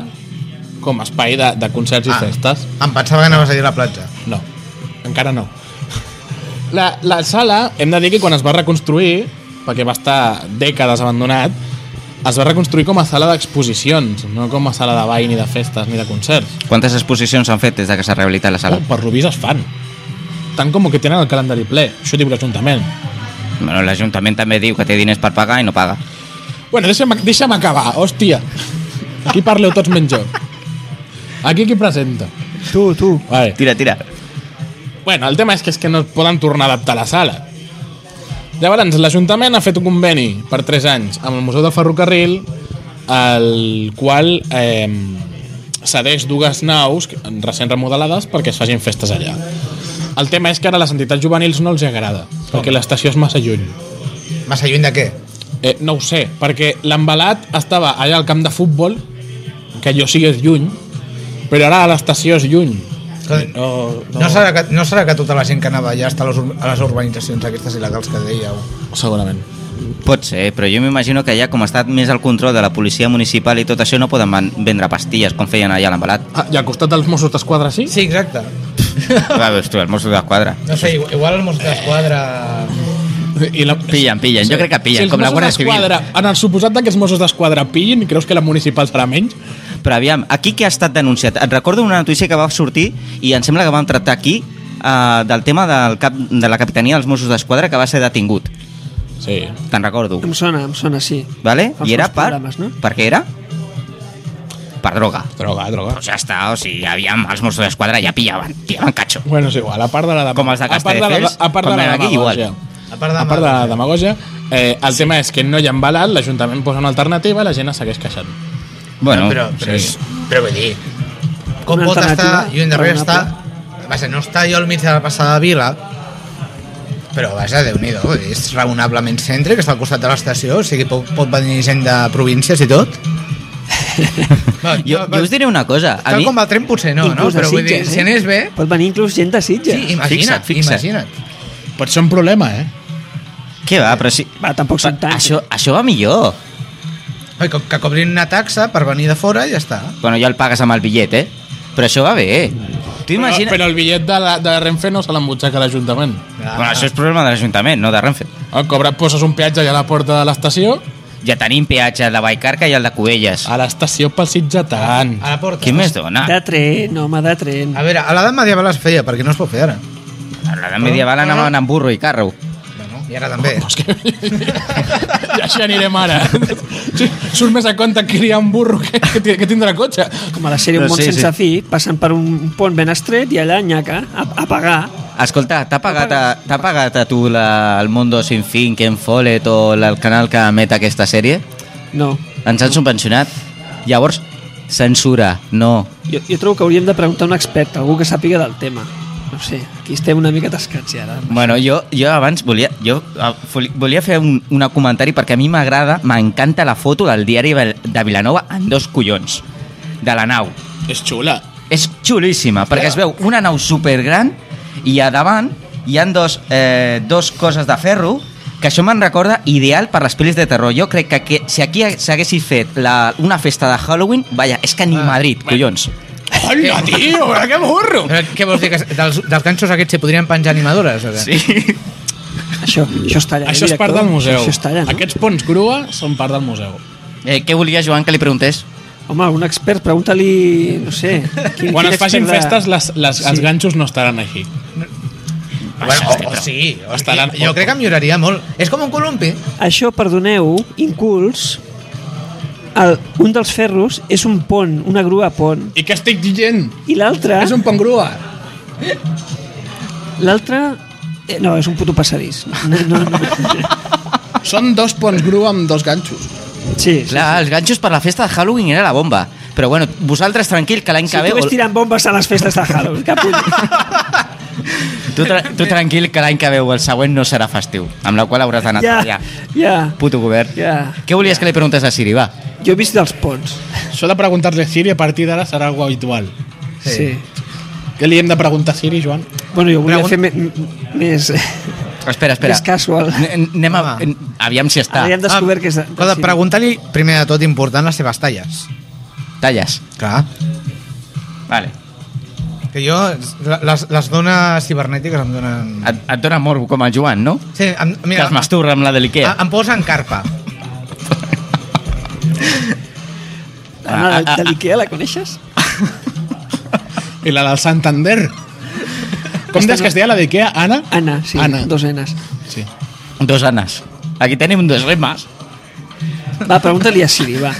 Speaker 1: com a espai de, de concerts i
Speaker 4: Ah.
Speaker 1: festes.
Speaker 4: Em pensava que anaves allà a la platja.
Speaker 1: No, encara no. La, la sala, hem de dir que quan es va reconstruir, perquè va estar dècades abandonat, es va reconstruir com a sala d'exposicions, no com a sala de ball, ni de festes, ni de concerts.
Speaker 3: Quantes exposicions s'han fet des de que s'ha rehabilitat la
Speaker 1: Oh,
Speaker 3: sala?
Speaker 1: per lo vist es fan. Tant com que tenen el calendari ple, això diu l'Ajuntament.
Speaker 3: Bueno, L'Ajuntament també diu que té diners per pagar i no paga.
Speaker 1: Bueno, deixa'm, deixa'm acabar, hòstia. Aquí parleu tots menys jo. Aquí qui presenta.
Speaker 2: Tu, tu.
Speaker 1: Vale.
Speaker 3: Tira, tira.
Speaker 1: Bueno, el tema és que és que no es poden tornar a adaptar a la sala. Llavors, l'Ajuntament ha fet un conveni per 3 anys amb el Museu del Ferrocarril, el qual eh, cedeix dues naus que- recent remodelades perquè es facin festes allà. El tema és que ara a les entitats juvenils no els hi agrada, perquè l'estació és massa lluny.
Speaker 4: Massa lluny de què?
Speaker 1: Eh, no ho sé, perquè l'embalat estava allà al camp de futbol, que jo sí que és lluny, però ara a l'estació és lluny.
Speaker 4: No,
Speaker 1: No,
Speaker 4: no. serà que, no serà que tota la gent que anava allà està a les, ur- a les urbanitzacions aquestes il·legals que dèieu?
Speaker 1: Segurament.
Speaker 3: Pot ser, però jo m'imagino que ja com ha estat més al control de la policia municipal i tot això no poden van- vendre pastilles com feien allà a l'embalat.
Speaker 1: Ah, I al costat dels Mossos d'Esquadra sí?
Speaker 4: Sí, exacte.
Speaker 3: Va, Hosti, els Mossos d'Esquadra.
Speaker 4: No sé, igu- igual els Mossos d'Esquadra...
Speaker 1: I la...
Speaker 3: Pillen, pillen, jo crec que pillen,
Speaker 1: si els
Speaker 3: com la
Speaker 1: Mossos
Speaker 3: Guàrdia Civil.
Speaker 1: d'Esquadra- En el suposat que els Mossos d'Esquadra pillin, creus que la municipal serà menys?
Speaker 3: Però aviam, aquí què ha estat denunciat? Et recordo una notícia que va sortir i em sembla que vam tractar aquí eh, del tema del cap, de la capitania dels Mossos d'Esquadra que va ser detingut.
Speaker 1: Sí.
Speaker 3: Te'n recordo.
Speaker 2: Em sona, em sona, sí.
Speaker 3: Vale?
Speaker 2: Fa
Speaker 3: I era
Speaker 2: uns
Speaker 3: per...
Speaker 2: programes, no?
Speaker 3: Per què era? Per droga.
Speaker 1: Droga, droga.
Speaker 3: Però ja està, o sigui, aviam, els Mossos d'Esquadra ja pillaven, pillaven catxo.
Speaker 1: Bueno, és igual, a part de la demagògia...
Speaker 3: Com els
Speaker 1: a
Speaker 3: de
Speaker 1: part de la,
Speaker 3: Castelldefels,
Speaker 1: a part de
Speaker 3: quan
Speaker 1: la
Speaker 3: venen aquí, igual.
Speaker 1: demagògia.
Speaker 4: A part de
Speaker 1: A part de la demagògia, eh, el tema és que no hi ha embalat, l'Ajuntament posa una alternativa, la gent es segueix queixant.
Speaker 3: Bueno,
Speaker 4: però,
Speaker 3: sí.
Speaker 4: però, és, però vull dir... Com
Speaker 2: Una
Speaker 4: pot estar
Speaker 2: alternativa
Speaker 4: lluny darrere està...
Speaker 2: raonable.
Speaker 4: Vaja, no està jo al mig de la passada vila, però vaja, déu nhi és raonablement centre, que està al costat de l'estació, o sigui, pot, pot venir gent de províncies i tot. Va,
Speaker 3: Jo,
Speaker 4: va,
Speaker 3: jo us diré una cosa. A
Speaker 4: Tal
Speaker 3: mi, eh?
Speaker 4: com el tren potser no, no?
Speaker 2: Inclús de
Speaker 4: Però vull dir,
Speaker 2: Sitges, eh?
Speaker 4: si anés bé...
Speaker 2: Pot venir inclús gent de Sitges.
Speaker 4: Sí, imagina't,
Speaker 3: Fixa't, fixa't.
Speaker 4: imagina't.
Speaker 1: Pot ser un problema, eh?
Speaker 3: què va, però si...
Speaker 2: Va, tampoc són tants.
Speaker 3: Això, això va millor.
Speaker 4: Oi, que, que cobrin una taxa per venir de fora i ja està.
Speaker 3: Bueno, ja el pagues amb el bitllet, eh? Però això va bé. Tu imagina...
Speaker 1: Però, però el bitllet de, la, de Renfe no se l'embutxaca l'Ajuntament.
Speaker 3: Bueno, això és problema de l'Ajuntament, no de Renfe.
Speaker 1: El cobrat poses un peatge allà a la porta de l'estació,
Speaker 3: Ja tenim peatge el de Vallcarca i el de Cubelles.
Speaker 1: a l'estació pel Sitgetant.
Speaker 4: A la porta.
Speaker 3: Què més dona?
Speaker 2: De tren, home, de tren.
Speaker 4: A
Speaker 1: Ah.
Speaker 4: veure, a l'edat medieval es feia, perquè no es pot fer ara.
Speaker 3: La de medieval anaven amb burro i carro.
Speaker 4: Bueno, I ara també.
Speaker 1: És que... ja així anirem ara. Sí, Surt més a compte criar un burro que, que, ti- que tindre cotxe.
Speaker 2: Com a la sèrie Un
Speaker 3: No,
Speaker 2: món
Speaker 3: sí,
Speaker 2: sense
Speaker 3: sí.
Speaker 2: fi, passen per un pont ben estret i allà, nyaca, a, a pagar.
Speaker 3: Escolta, t'ha pagat, a, t'ha pagat a tu la, el Mundo Sin Fin, Ken Follett o la- el canal que emet aquesta sèrie?
Speaker 2: No.
Speaker 3: Ens han subvencionat? Llavors, censura, no.
Speaker 2: Jo, jo trobo que hauríem de preguntar a un expert, algú que sàpiga del tema. No sé, aquí estem una mica tascats ja, ara.
Speaker 3: Bueno, jo, jo abans volia, jo, eh, foli- volia fer un, un comentari perquè a mi m'agrada, m'encanta la foto del diari Vel- de Vilanova en dos collons, de la nau.
Speaker 1: És xula.
Speaker 3: És xulíssima, perquè es veu una nau supergran i a davant hi han dos, eh, dos coses de ferro que això me'n recorda ideal per les pel·lis de terror. Jo crec que, que si aquí s'haguessin fet la, una festa de Halloween, vaja, és que ni Madrid, collons.
Speaker 1: Hola,
Speaker 2: Eh.
Speaker 1: tio, però que burro!
Speaker 4: Però Què vols dir? Que dels, dels ganxos aquests s'hi podrien penjar animadores? O què?
Speaker 2: Això, això està allà. eh,
Speaker 1: Això és
Speaker 2: director?
Speaker 1: part del museu.
Speaker 2: Això està allà, no?
Speaker 1: Aquests ponts grua són part del museu.
Speaker 3: Eh, què volia, Joan, que li preguntés?
Speaker 2: Home, un expert, pregunta-li, no sé... Quin,
Speaker 1: Quan
Speaker 2: quin
Speaker 1: es facin
Speaker 2: expert de-
Speaker 1: festes, les, les, els ganxos no estaran així.
Speaker 4: Bueno, o, o sí. O
Speaker 1: Estaran-
Speaker 4: sí. Jo crec que milloraria molt. És com un columpi.
Speaker 2: Això, perdoneu, inculs, el, un dels ferros és un pont, una grua pont,
Speaker 1: I què estic dient?
Speaker 2: i l'altre...
Speaker 1: És un pont grua.
Speaker 2: L'altre... Eh, no, és un puto passadís. No, no, no.
Speaker 1: Són dos ponts grua amb dos ganxos.
Speaker 2: Sí, sí.
Speaker 3: Clar, els ganxos per la festa de Halloween era la bomba. Però bueno, vosaltres tranquil, que l'any
Speaker 2: Si
Speaker 3: que ve...
Speaker 2: tu ves tirant bombes a les festes de Halloween, capullo.
Speaker 3: Tu, tra tu tranquil, que l'any que veu el següent no serà festiu. Amb la qual hauràs d'anar a
Speaker 2: ja,
Speaker 3: treballar.
Speaker 2: ja.
Speaker 3: Puto govern.
Speaker 2: Ja.
Speaker 3: Què volies que li preguntes a Siri, va?
Speaker 2: Jo he vist dels ponts.
Speaker 1: Això de preguntar-li a Siri a partir d'ara serà algo habitual.
Speaker 2: Sí. sí.
Speaker 1: Què li hem de preguntar a Siri, Joan?
Speaker 2: Bueno, jo volia
Speaker 4: Pregun-
Speaker 2: fer me, més...
Speaker 3: Espera, espera.
Speaker 2: És casual.
Speaker 3: N- Anem a...
Speaker 4: Va.
Speaker 3: n- Aviam si està.
Speaker 2: Ara ja hem descobert que és... de-
Speaker 4: Escolta,
Speaker 2: sí.
Speaker 4: preguntar-li, primer de tot, important, les seves talles.
Speaker 3: Talles.
Speaker 4: Clar.
Speaker 3: Vale.
Speaker 4: Que jo, les, les dones cibernètiques em donen...
Speaker 3: Et, et dona morbo com el Joan, no?
Speaker 4: Sí, em,
Speaker 3: Mira,
Speaker 4: mira, Ah,
Speaker 3: que es masturra amb la de l'Ikea.
Speaker 4: em, em posen carpa.
Speaker 2: L'Anna de, de l'Ikea, la coneixes?
Speaker 1: I la del Santander. Com deies que es deia la d'Ikea? Anna?
Speaker 2: Anna, sí,
Speaker 1: Anna.
Speaker 2: dos nenes.
Speaker 1: Sí.
Speaker 3: Dos anas. Aquí tenim dos remes.
Speaker 2: Va, pregunta-li a Siri, va.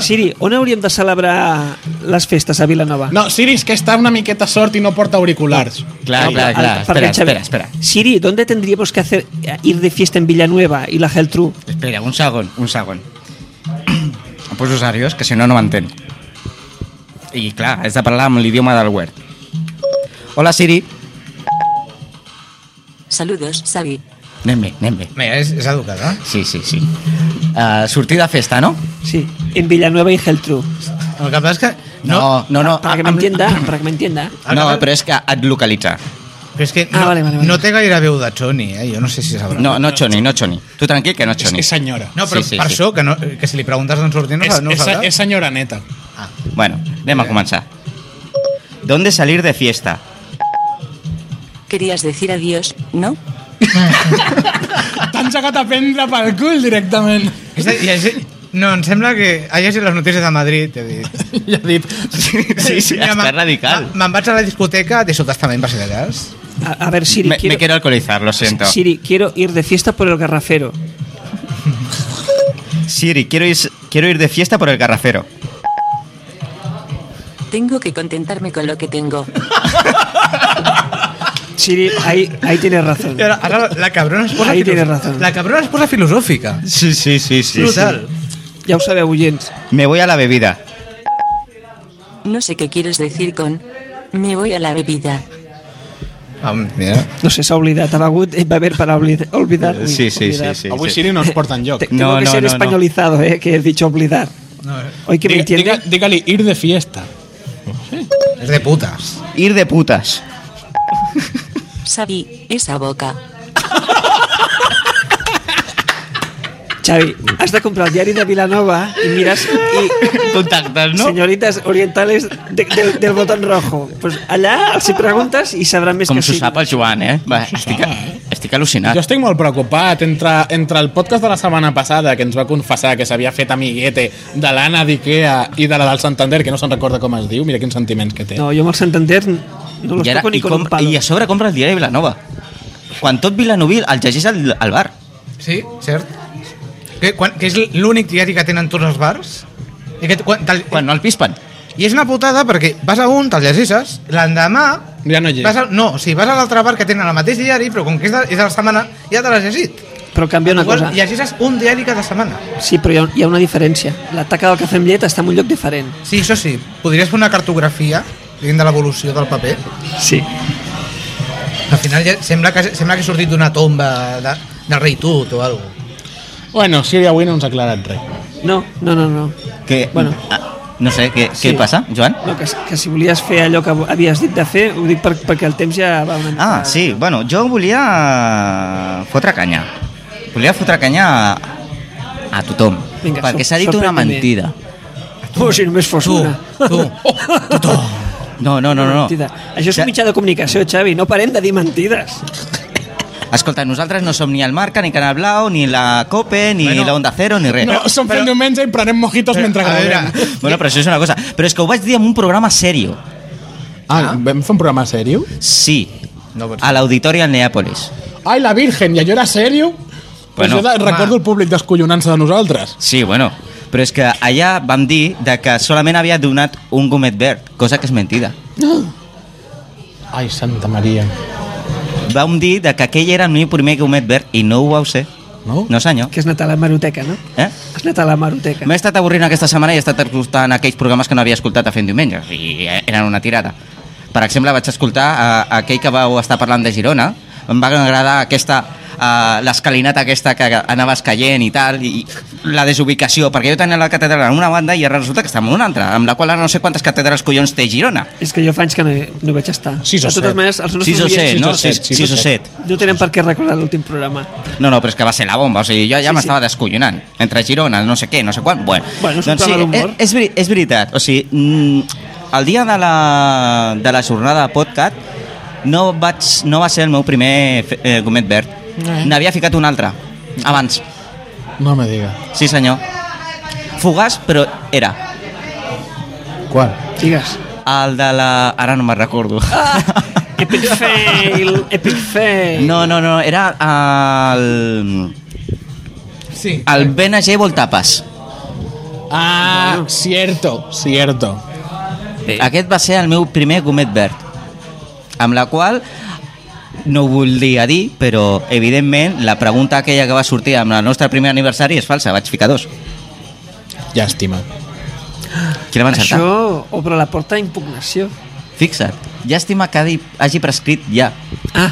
Speaker 2: Siri, on hauríem de celebrar les festes a Vilanova?
Speaker 1: No, Siri, és que està una miqueta sort i no porta auriculars.
Speaker 3: Clar,
Speaker 2: No,
Speaker 3: clar,
Speaker 2: pero
Speaker 3: clar.
Speaker 2: al- para
Speaker 3: Espera,
Speaker 2: que Xavi-
Speaker 3: espera, espera.
Speaker 2: Siri, ¿dónde tendríamos que hacer eh, ir de fiesta en Villanueva y la Geltrú?
Speaker 3: Espera, un segon, un segon. Em poso seriós, que si no, no m'entén. I clar, has de parlar amb l'idioma del web. Hola, Siri.
Speaker 7: Saludos, Xavi.
Speaker 3: Anem bé, anem bé.
Speaker 4: Mira, és, és educada.
Speaker 3: Sí, sí, sí. Uh, sortir de festa, no?
Speaker 2: Sí, en Villanueva y Geltrú.
Speaker 4: El que passa és que...
Speaker 3: no, no. no
Speaker 2: Para que me
Speaker 3: amb-
Speaker 2: entienda, para que me entienda.
Speaker 3: No, però és que et localitza.
Speaker 4: Però és que
Speaker 2: Ah,
Speaker 4: no,
Speaker 2: vale, vale, vale.
Speaker 4: no té gaire veu de Choni, eh? Jo no sé si sabrà.
Speaker 3: No, no, Choni, no, Choni. Tu tranquil, que no,
Speaker 1: És,
Speaker 3: Choni.
Speaker 1: és senyora.
Speaker 4: No, però
Speaker 3: Sí, sí,
Speaker 4: per
Speaker 3: sí.
Speaker 4: això, que, no, que si li preguntes d'on sortir no,
Speaker 1: és,
Speaker 4: no ho
Speaker 1: és,
Speaker 4: sabrà.
Speaker 1: és senyora neta.
Speaker 3: Bueno, anem a començar. ¿Dónde salir de fiesta?
Speaker 7: Querías decir adiós, ¿no?
Speaker 1: T'han llegat a prendre pel cul directament.
Speaker 4: És de- llegir- no, em sembla que ha llegit les notícies de Madrid, he dit.
Speaker 1: Ja he dit.
Speaker 3: Sí, sí, sí
Speaker 4: Mira,
Speaker 3: està
Speaker 4: me'n-
Speaker 3: radical.
Speaker 4: me- Me'n vaig a la discoteca de sotaestament, vacilaràs.
Speaker 2: A, a ver, Siri,
Speaker 3: Me, me
Speaker 2: quiero,
Speaker 3: quiero alcoholizar, lo siento.
Speaker 2: Siri, quiero ir de fiesta por el garrafero.
Speaker 3: Siri, quiero ir, quiero ir de fiesta por el garrafero.
Speaker 7: Tengo que contentarme con lo que tengo.
Speaker 2: Siri, ahí, ahí tienes razón.
Speaker 4: I ara, ara la cabrona es posa
Speaker 2: Ahí
Speaker 4: filoso-
Speaker 2: tienes razón.
Speaker 4: La cabrona es posa filosòfica.
Speaker 3: Sí, sí, sí, sí.
Speaker 4: Brutal.
Speaker 2: Ya os sabe oyents.
Speaker 3: Me voy a la bebida.
Speaker 7: No sé qué quieres decir con... Me voy a la bebida.
Speaker 4: Ah, mira.
Speaker 2: No sé, s'ha oblidat. Ha begut, eh, va haver para olvidar. olvidar
Speaker 3: Sí, sí, sí,
Speaker 2: olvidar.
Speaker 3: sí.
Speaker 1: Avui
Speaker 3: sí.
Speaker 1: Siri no es porta enlloc.
Speaker 2: Te- tengo
Speaker 3: No,
Speaker 2: que
Speaker 3: no,
Speaker 2: ser
Speaker 3: no, no.
Speaker 2: españolizado, eh, que he dicho olvidar.
Speaker 4: No,
Speaker 2: Hoy que me
Speaker 1: Digue-
Speaker 2: entiende.
Speaker 1: digue- Digue-li ir de fiesta.
Speaker 4: és de putes.
Speaker 3: Ir de putas.
Speaker 7: Xavi, esa boca.
Speaker 2: Xavi, has de comprar el diari de Vilanova y miras y
Speaker 3: Contactes, no?
Speaker 2: Señoritas orientales de- del- del botón rojo. Pues allá, si preguntas, y sabrán més
Speaker 3: Com
Speaker 2: que
Speaker 3: s'ho
Speaker 2: sí.
Speaker 3: sap el Joan, eh? Va, estic, estic
Speaker 1: Jo
Speaker 3: al·lucinat.
Speaker 1: estic molt preocupat. Entre, entre el podcast de la setmana passada, que ens va confessar que s'havia fet amiguete de l'Anna d'Ikea i de la del Santander, que no se'n recorda com es diu, mira quins sentiments que té.
Speaker 2: No, yo amb el Santander no los
Speaker 3: eh? I, ara,
Speaker 2: toco ni
Speaker 3: i,
Speaker 2: con un
Speaker 3: com,
Speaker 2: palo.
Speaker 3: I a sobre compra el diari Vilanova. Quan tot Vilanoví el llegeix al, al bar.
Speaker 4: Sí, cert. Que, quan, que és l'únic diari que tenen tots els bars. I, que, quan, te'l-
Speaker 3: Quan no el pispen.
Speaker 4: I és una putada perquè vas a un, te'l llegeixes, l'endemà...
Speaker 1: Ja no hi és.
Speaker 4: Vas al, no, o sigui, vas a l'altre bar que tenen el mateix diari, però com que és de, és de la setmana, ja te l'has llegit.
Speaker 2: Però canvia una cosa.
Speaker 4: Llegeixes un diari cada setmana.
Speaker 2: Sí, però hi ha, hi ha una diferència. La taca del cafè amb llet està en un lloc diferent.
Speaker 4: Sí, això sí. Podries fer una cartografia diguem, de l'evolució del paper.
Speaker 2: Sí.
Speaker 4: Al final ja sembla que, sembla que he sortit d'una tomba de, del rei Tut o alguna cosa.
Speaker 1: Bueno, Siri avui no ens ha aclarat res.
Speaker 2: No, no, no, no.
Speaker 3: Que,
Speaker 2: Bueno.
Speaker 3: ah, no sé, què,
Speaker 2: Sí.
Speaker 3: què passa, Joan?
Speaker 2: no que, que si volies fer allò que havies dit de fer, ho dic per, perquè el temps ja va una mica...
Speaker 3: Ah, sí, bueno, jo volia fotre canya. Volia fotre canya a, a tothom.
Speaker 2: Vinga,
Speaker 3: perquè
Speaker 2: sor-
Speaker 3: s'ha dit una
Speaker 2: sorprèn-me.
Speaker 3: mentida.
Speaker 2: Oh, si només fos
Speaker 4: Tu,
Speaker 2: una.
Speaker 4: tu,
Speaker 3: Oh,
Speaker 4: tothom.
Speaker 3: No, no, no, no.
Speaker 2: Mentida.
Speaker 3: no.
Speaker 2: Això és
Speaker 3: Ja-
Speaker 2: un mitjà de comunicació, Xavi. No parem de dir mentides.
Speaker 3: Escolta, nosaltres no som ni el Marca, ni Canal Blau, ni la COPE, ni
Speaker 4: Bueno.
Speaker 3: la Onda Cero, ni res.
Speaker 1: No, som fent diumenge i prenem mojitos
Speaker 4: Però,
Speaker 1: mentre
Speaker 4: a veure,
Speaker 1: gravem.
Speaker 3: Bueno, però això és una cosa. Però és que ho vaig dir en un programa serio.
Speaker 1: Ah, vam fer un programa sèrio?
Speaker 3: Sí.
Speaker 4: No pot ser.
Speaker 3: A l'Auditori al Neàpolis.
Speaker 1: Ai, la Virgen, i allò era sèrio? Bueno,
Speaker 3: Bueno,
Speaker 1: jo de,
Speaker 4: home.
Speaker 1: recordo el públic descollonant-se de nosaltres.
Speaker 3: Sí, bueno. Però és que allà vam dir de que solament havia donat un gomet verd, cosa que és mentida.
Speaker 1: Ai, Santa Maria.
Speaker 3: Vam dir de que aquell era el meu primer gomet verd i no ho vau ser.
Speaker 1: No?
Speaker 3: No, senyor.
Speaker 2: Que has anat a la maroteca, no?
Speaker 3: Eh?
Speaker 2: Has anat a la maroteca.
Speaker 3: M'he estat avorrint aquesta setmana i he estat escoltant aquells programes que no havia escoltat a fent diumenge i eh, eren una tirada. Per exemple, vaig escoltar eh, aquell que vau estar parlant de Girona. Em va agradar aquesta eh, l'escalinata aquesta que anaves caient i tal, i la desubicació, perquè jo tenia la catedral en una banda i ara resulta que està en una altra, amb la qual ara no sé quantes catedrals collons té Girona.
Speaker 2: És que jo fa anys que no, hi- no hi vaig estar.
Speaker 1: Sis o
Speaker 2: de totes
Speaker 1: set.
Speaker 2: maneres, els nostres
Speaker 3: 6 o 7,
Speaker 2: oients
Speaker 3: no?
Speaker 1: sis o
Speaker 3: 6
Speaker 1: set, sis
Speaker 3: o
Speaker 1: o set.
Speaker 3: 7.
Speaker 2: no tenen per què recordar l'últim programa.
Speaker 3: No, no, però és que va ser la bomba, o sigui, jo ja
Speaker 2: Sí,
Speaker 3: sí, m'estava sí. descollonant. Entre Girona, no sé què, no sé quan... Bueno,
Speaker 2: Bueno, és un programa
Speaker 3: és,
Speaker 2: d'humor.
Speaker 3: és, veri- és veritat, o sigui, mm, el dia de la, de la jornada de podcast no, vaig, no va ser el meu primer fe- eh, gomet verd.
Speaker 1: Eh.
Speaker 3: N'havia ficat un altre, abans.
Speaker 1: No me diga.
Speaker 3: Sí, senyor. Fugaç, però era.
Speaker 1: Qual?
Speaker 2: Digues.
Speaker 3: El de la... Ara no me'n recordo. Ah.
Speaker 2: Epic fail, epic fail.
Speaker 3: No, no, no, era al...
Speaker 4: Sí.
Speaker 3: al Ben Table Tapas.
Speaker 1: Ah, cierto, cierto.
Speaker 3: Aquest va ser el meu primer gomet verd, amb la qual no ho volia dir, però evidentment la pregunta aquella que va sortir amb el nostre primer aniversari és falsa, vaig ficar dos.
Speaker 1: Llàstima.
Speaker 3: Qui la va encertar?
Speaker 2: Això obre la porta a impugnació.
Speaker 3: Fixa't. Llàstima que hagi, hagi prescrit ja.
Speaker 2: Ah,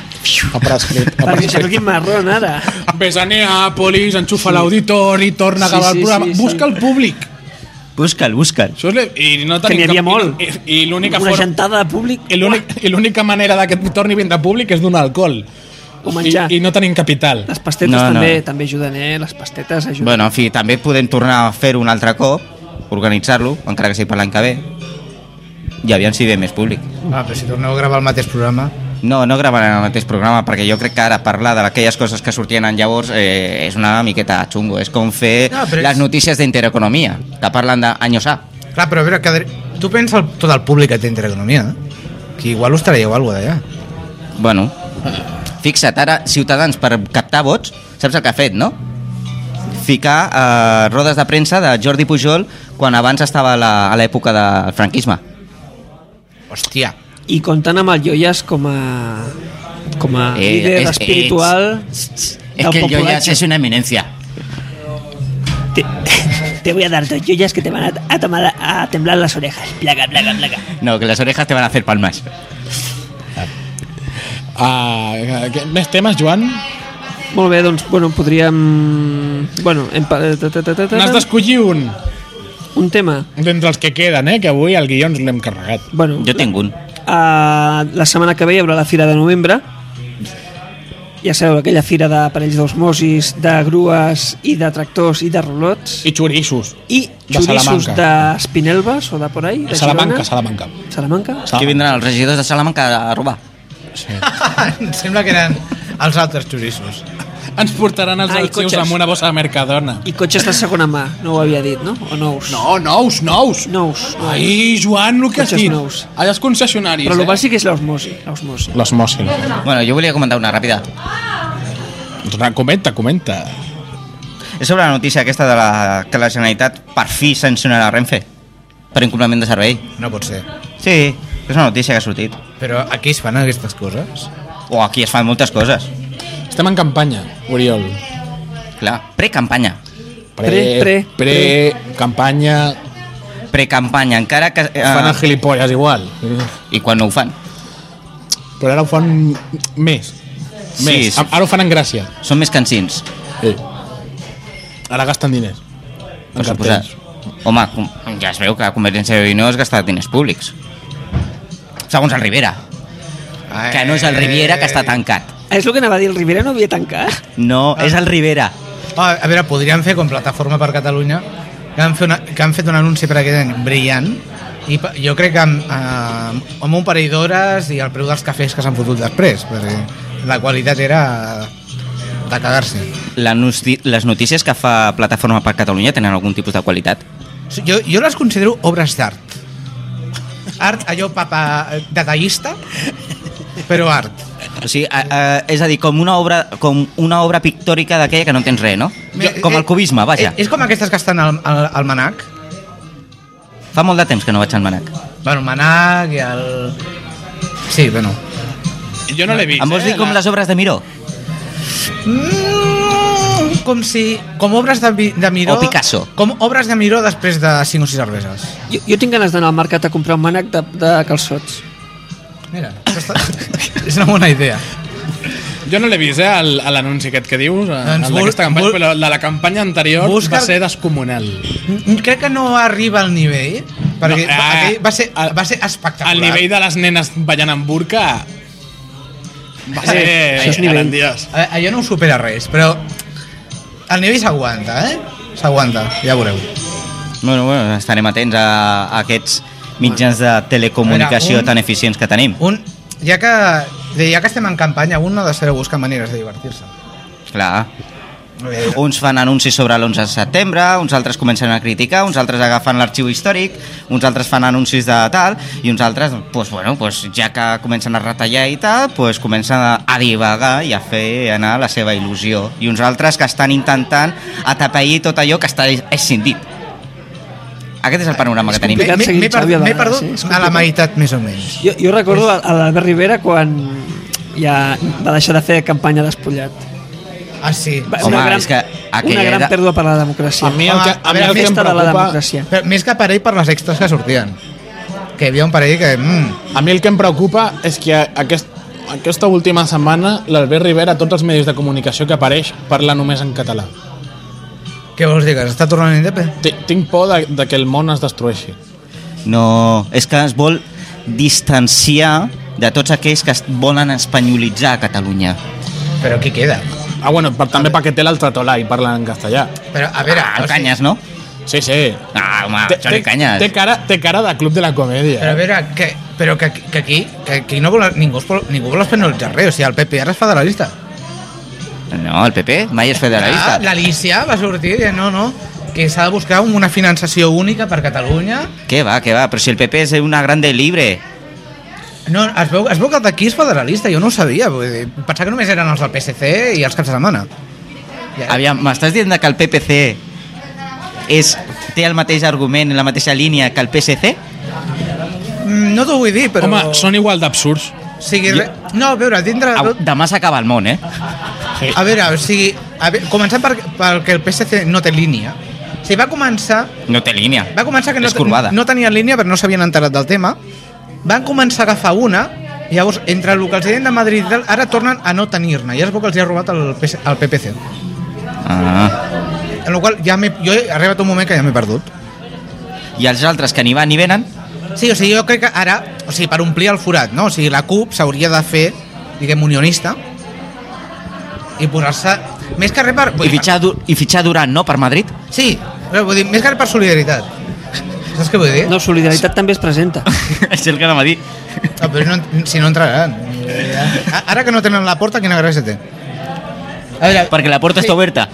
Speaker 1: Ha prescrit. Ha
Speaker 2: perquè se
Speaker 1: prescrit.
Speaker 2: toqui marrón ara.
Speaker 1: Ves a Neàpolis, enxufa l'auditori, torna a
Speaker 2: Sí,
Speaker 1: acabar
Speaker 2: sí,
Speaker 1: el programa.
Speaker 2: sí, sí.
Speaker 1: Busca el públic.
Speaker 3: Busca'l, busca'l.
Speaker 1: Això és le- I no
Speaker 2: Que
Speaker 1: tenim
Speaker 2: n'hi havia
Speaker 1: cap-
Speaker 2: molt.
Speaker 1: I, i l'única
Speaker 2: Una
Speaker 1: forma...
Speaker 2: gentada de públic.
Speaker 1: I l'únic- i l'única manera de que et torni ben de públic és donar alcohol.
Speaker 2: O menjar.
Speaker 1: I, I no tenim capital.
Speaker 2: Les pastetes
Speaker 3: No, no.
Speaker 2: també, també ajuden, eh? Les pastetes ajuden.
Speaker 3: Bueno, en fi, també podem tornar a fer un altre cop, organitzar-lo, encara que sigui per l'any que ve. I aviam si ve més públic.
Speaker 4: Ah, però si torneu a gravar el mateix programa...
Speaker 3: No, no gravaran el mateix programa, perquè jo crec que ara parlar d'aquelles coses que sortien en llavors eh, és una miqueta xungo. És com fer
Speaker 4: No,
Speaker 3: no,
Speaker 4: però
Speaker 3: les
Speaker 4: és-
Speaker 3: notícies d'Intereconomia, que parlen d'anyos A.
Speaker 4: Clar, però a veure, que... tu pensa el, tot el públic que té Intereconomia, eh? que igual us traieu alguna cosa d'allà.
Speaker 3: Bueno, fixa't, ara Ciutadans per captar vots, saps el que ha fet, no? Ficar eh, rodes de premsa de Jordi Pujol quan abans estava a la- a l'època del franquisme.
Speaker 4: Hòstia.
Speaker 2: I comptant amb el Joias com a, com a
Speaker 3: Eh,
Speaker 2: líder
Speaker 3: és-
Speaker 2: espiritual
Speaker 3: És
Speaker 2: del
Speaker 3: que el Joyas
Speaker 2: populatge.
Speaker 3: és una eminència.
Speaker 2: Te, te voy a dar dos joyas que te van a, a tomar- a temblar las orejas. Placa, placa, placa.
Speaker 3: No, que les orejas te van a fer palmes.
Speaker 1: Ah, que- més temes, Joan?
Speaker 2: Molt bé, doncs, bueno, podríem... Bueno, hem, pa- eh, ta, ta, ta, ta, ta,
Speaker 1: N'has d'escollir un
Speaker 2: un tema.
Speaker 1: d'entre els que queden, eh? Que avui el guió ens l'hem carregat.
Speaker 2: Bueno,
Speaker 3: Jo tinc un.
Speaker 2: a, la setmana que ve hi haurà la fira de novembre. Ja sabeu, aquella fira d'aparells d'osmosis, de grues i de tractors i de rolots.
Speaker 1: I xoriços.
Speaker 2: I
Speaker 1: de
Speaker 2: xoriços
Speaker 1: Salamanca.
Speaker 2: d'Espinelves o de por ahí? De
Speaker 1: Salamanca,
Speaker 2: Girona.
Speaker 1: Salamanca.
Speaker 2: Salamanca?
Speaker 1: Sa-
Speaker 3: Que vindran els regidors de Salamanca a robar.
Speaker 1: Sí.
Speaker 4: em sembla que eren els altres xoriços.
Speaker 1: Ens portaran els
Speaker 2: Ah, i
Speaker 1: arxius
Speaker 2: cotxes.
Speaker 1: amb una bossa de Mercadona.
Speaker 2: I cotxes de segona mà, no ho havia dit, no? O nous?
Speaker 1: No, nous, nous.
Speaker 2: Nous. nous.
Speaker 1: Ai, Joan, el que has
Speaker 2: Cotxes
Speaker 1: dit.
Speaker 2: nous.
Speaker 1: Allà els concessionaris,
Speaker 2: Però el
Speaker 1: eh?
Speaker 2: val sí que és l'osmosi. L'osmosi.
Speaker 1: Les mòssil.
Speaker 3: Bueno, jo volia comentar una ràpida.
Speaker 1: Comenta, comenta.
Speaker 3: És sobre la notícia aquesta de la, que la Generalitat per fi sancionarà Renfe per incompliment de servei.
Speaker 4: No pot ser.
Speaker 3: Sí, és una notícia que ha sortit.
Speaker 4: Però aquí es fan aquestes coses?
Speaker 3: O aquí es fan moltes coses.
Speaker 1: Estem en campanya, Oriol.
Speaker 3: Clar, precampanya.
Speaker 2: Pre, pre,
Speaker 1: pre, campanya...
Speaker 3: Precampanya, encara que... eh,
Speaker 1: Fan el gilipolles igual.
Speaker 3: I quan no ho fan.
Speaker 1: Però ara ho fan més.
Speaker 3: Sí,
Speaker 1: Més.
Speaker 3: sí.
Speaker 1: Ara ho fan en gràcia.
Speaker 3: Són més cansins,
Speaker 1: Sí. Ara gasten diners.
Speaker 3: per suposar. Home, com- ja es veu que Convergència i Unió es gasta diners públics. Segons el Rivera, que no és el Riviera que està tancat.
Speaker 2: Ah, És el que anava a dir, el Rivera no havia tancat.
Speaker 3: No, és el Rivera.
Speaker 4: Ah, a veure, podríem fer com Plataforma per Catalunya, que han, fet una, que han fet un anunci per aquest any brillant, i pa- jo crec que amb, eh, amb un parell d'hores i el preu dels cafès que s'han fotut després, perquè la qualitat era de cagar-se.
Speaker 3: La nosti- les notícies que fa Plataforma per Catalunya tenen algun tipus de qualitat?
Speaker 4: Sí, Jo, jo les considero obres d'art. Art, allò papa, detallista, però art.
Speaker 3: O sigui, a, a, eh, és a dir, com una obra, com una obra pictòrica d'aquella que no tens res, no? Jo, com el cubisme, vaja.
Speaker 4: Eh, És, és com aquestes que estan al, al, al manac.
Speaker 3: Fa molt de temps que no vaig al manac.
Speaker 4: Bueno, el manac i el... Sí, bueno.
Speaker 1: Jo no l'he vist. eh?
Speaker 3: Em vols dir com les obres de Miró?
Speaker 4: Mm, com si... Com obres de, Mi- de Miró...
Speaker 3: O Picasso.
Speaker 4: Com obres de Miró després de 5 o 6 cerveses.
Speaker 2: Jo, jo tinc ganes d'anar al mercat a comprar un mànec de, de calçots.
Speaker 4: Mira, això està... és una bona idea.
Speaker 1: Jo no l'he vist, eh, el- a l'anunci aquest que dius,
Speaker 4: Doncs
Speaker 1: doncs el
Speaker 4: vol-
Speaker 1: d'aquesta campanya,
Speaker 4: vol-
Speaker 1: però la, la campanya anterior
Speaker 4: Busca-
Speaker 1: va ser descomunal.
Speaker 4: Mm, Crec que no arriba al nivell, perquè
Speaker 1: No,
Speaker 4: no,
Speaker 1: ah,
Speaker 4: aquell va ser,
Speaker 1: al-
Speaker 4: va ser espectacular.
Speaker 1: El nivell de les nenes ballant amb burca va ser
Speaker 2: això és nivell.
Speaker 1: grandiós.
Speaker 4: A- Eh, Allò no ho supera res, però el nivell s'aguanta, eh? S'aguanta, ja veureu.
Speaker 3: Bueno, bueno, estarem atents a, a aquests mitjans de telecomunicació
Speaker 4: Mira, un-
Speaker 3: tan eficients que tenim.
Speaker 4: Un, ja que, de- ja que estem en campanya, un no ha de saber buscar maneres de divertir-se.
Speaker 3: Clar. Uns fan anuncis sobre l'11 de setembre, uns altres comencen a criticar, uns altres agafen l'arxiu històric, uns altres fan anuncis de tal, i uns altres, pues, bueno, pues, ja que comencen a retallar i tal, pues, comencen a- a divagar i a fer anar la seva il·lusió. I uns altres que estan intentant atapeir tot allò que està escindit. Aquest és el panorama que tenim.
Speaker 2: complicat.
Speaker 4: M'he-
Speaker 2: seguint
Speaker 4: M'he per-
Speaker 2: Xavi a
Speaker 4: m'he
Speaker 2: vegades,
Speaker 4: perdut
Speaker 2: eh? És
Speaker 4: a la
Speaker 2: complicat.
Speaker 4: meitat, més o menys.
Speaker 2: Jo, jo recordo a a l'Albert Rivera quan ja va deixar de fer campanya despullat.
Speaker 4: Ah, sí.
Speaker 2: Va-
Speaker 3: Home,
Speaker 2: una gran,
Speaker 3: és que aquella
Speaker 2: una gran
Speaker 3: era-
Speaker 2: pèrdua per la democràcia.
Speaker 1: A mi el que, a mi el que em
Speaker 2: festa de la
Speaker 1: preocupa...
Speaker 2: democràcia.
Speaker 4: Però més que per ell, per les extras que sortien. Que hi havia un parell que... Mm,
Speaker 1: A mi el que em preocupa és que aquest, aquesta última setmana l'Albert Rivera a tots els medis de comunicació que apareix parla només en català.
Speaker 4: què vols dir, que s'està tornant indepe?
Speaker 1: Ti- Tinc por de, de que el món es destrueixi.
Speaker 3: No, és que es vol distanciar de tots aquells que es volen espanyolitzar a Catalunya.
Speaker 4: Però qui queda?
Speaker 1: Ah, bueno, per, també perquè té l'altre tolà i parla en castellà.
Speaker 4: Però, a veure...
Speaker 3: Ah,
Speaker 4: o
Speaker 3: el
Speaker 4: sigui,
Speaker 3: Canyes, no?
Speaker 1: Sí, sí.
Speaker 3: Ah, home,
Speaker 1: Té-
Speaker 3: Jordi
Speaker 1: té-
Speaker 3: Canyes.
Speaker 1: Té cara, té cara de club de la
Speaker 4: Però a
Speaker 1: comèdia. eh?
Speaker 4: veure, que, però que, que aquí, que aquí no vol, ningú, es vol, ningú vol espanyolitzar res, o sigui, el PP ara es federalista.
Speaker 3: No, el PP mai és federalista.
Speaker 4: Ah, L'Alícia va sortir i no, no, que s'ha de buscar una finançació única per Catalunya.
Speaker 3: Què va, què va? Però si el PP és una grande libre.
Speaker 4: No, es veu, es veu que d'aquí és federalista, jo no ho sabia, vull dir, pensava que només eren els del PSC i els caps de setmana. I ara-
Speaker 3: Aviam, m'estàs dient que el PPC és, té el mateix argument, la mateixa línia que el PSC?
Speaker 4: Mm, No t'ho vull dir, però...
Speaker 1: Home, són igual d'absurds.
Speaker 4: O sigui, re... No, a veure, dintre... de
Speaker 3: Au,
Speaker 4: tot-
Speaker 3: demà s'acaba el món, eh?
Speaker 4: A veure, o sigui, a veure, començant per, perquè el PSC no té línia. O sigui, va començar,
Speaker 3: No té línia.
Speaker 4: va començar que no,
Speaker 3: és corbada.
Speaker 4: no tenien línia però no s'havien enterat del tema. Van començar a agafar una, i llavors, entre el que els deien de Madrid, i tal, ara tornen a no tenir-ne. Ja es veu que els hi ha robat el, PS el PPC.
Speaker 3: Ah.
Speaker 4: En la qual cosa ja m'he- jo he arribat un moment que ja m'he perdut.
Speaker 3: I els altres que ni van ni venen?
Speaker 4: Sí, o sigui, jo crec que ara, o sigui, per omplir el forat, no? O sigui, la CUP s'hauria de fer, diguem, unionista, i posar-se... Més que res per...
Speaker 3: I fitxar, Du- I fitxar Durant, no, per Madrid?
Speaker 4: Sí, però vull dir, més que res per solidaritat. Saps què vull dir?
Speaker 2: No, Solidaritat també es presenta.
Speaker 3: és el que anava a dir.
Speaker 4: No, però no, si no entraran. A- Ara que no tenen la porta, quina gràcia té? A veure,
Speaker 3: Perquè la porta
Speaker 4: Sí.
Speaker 3: està oberta.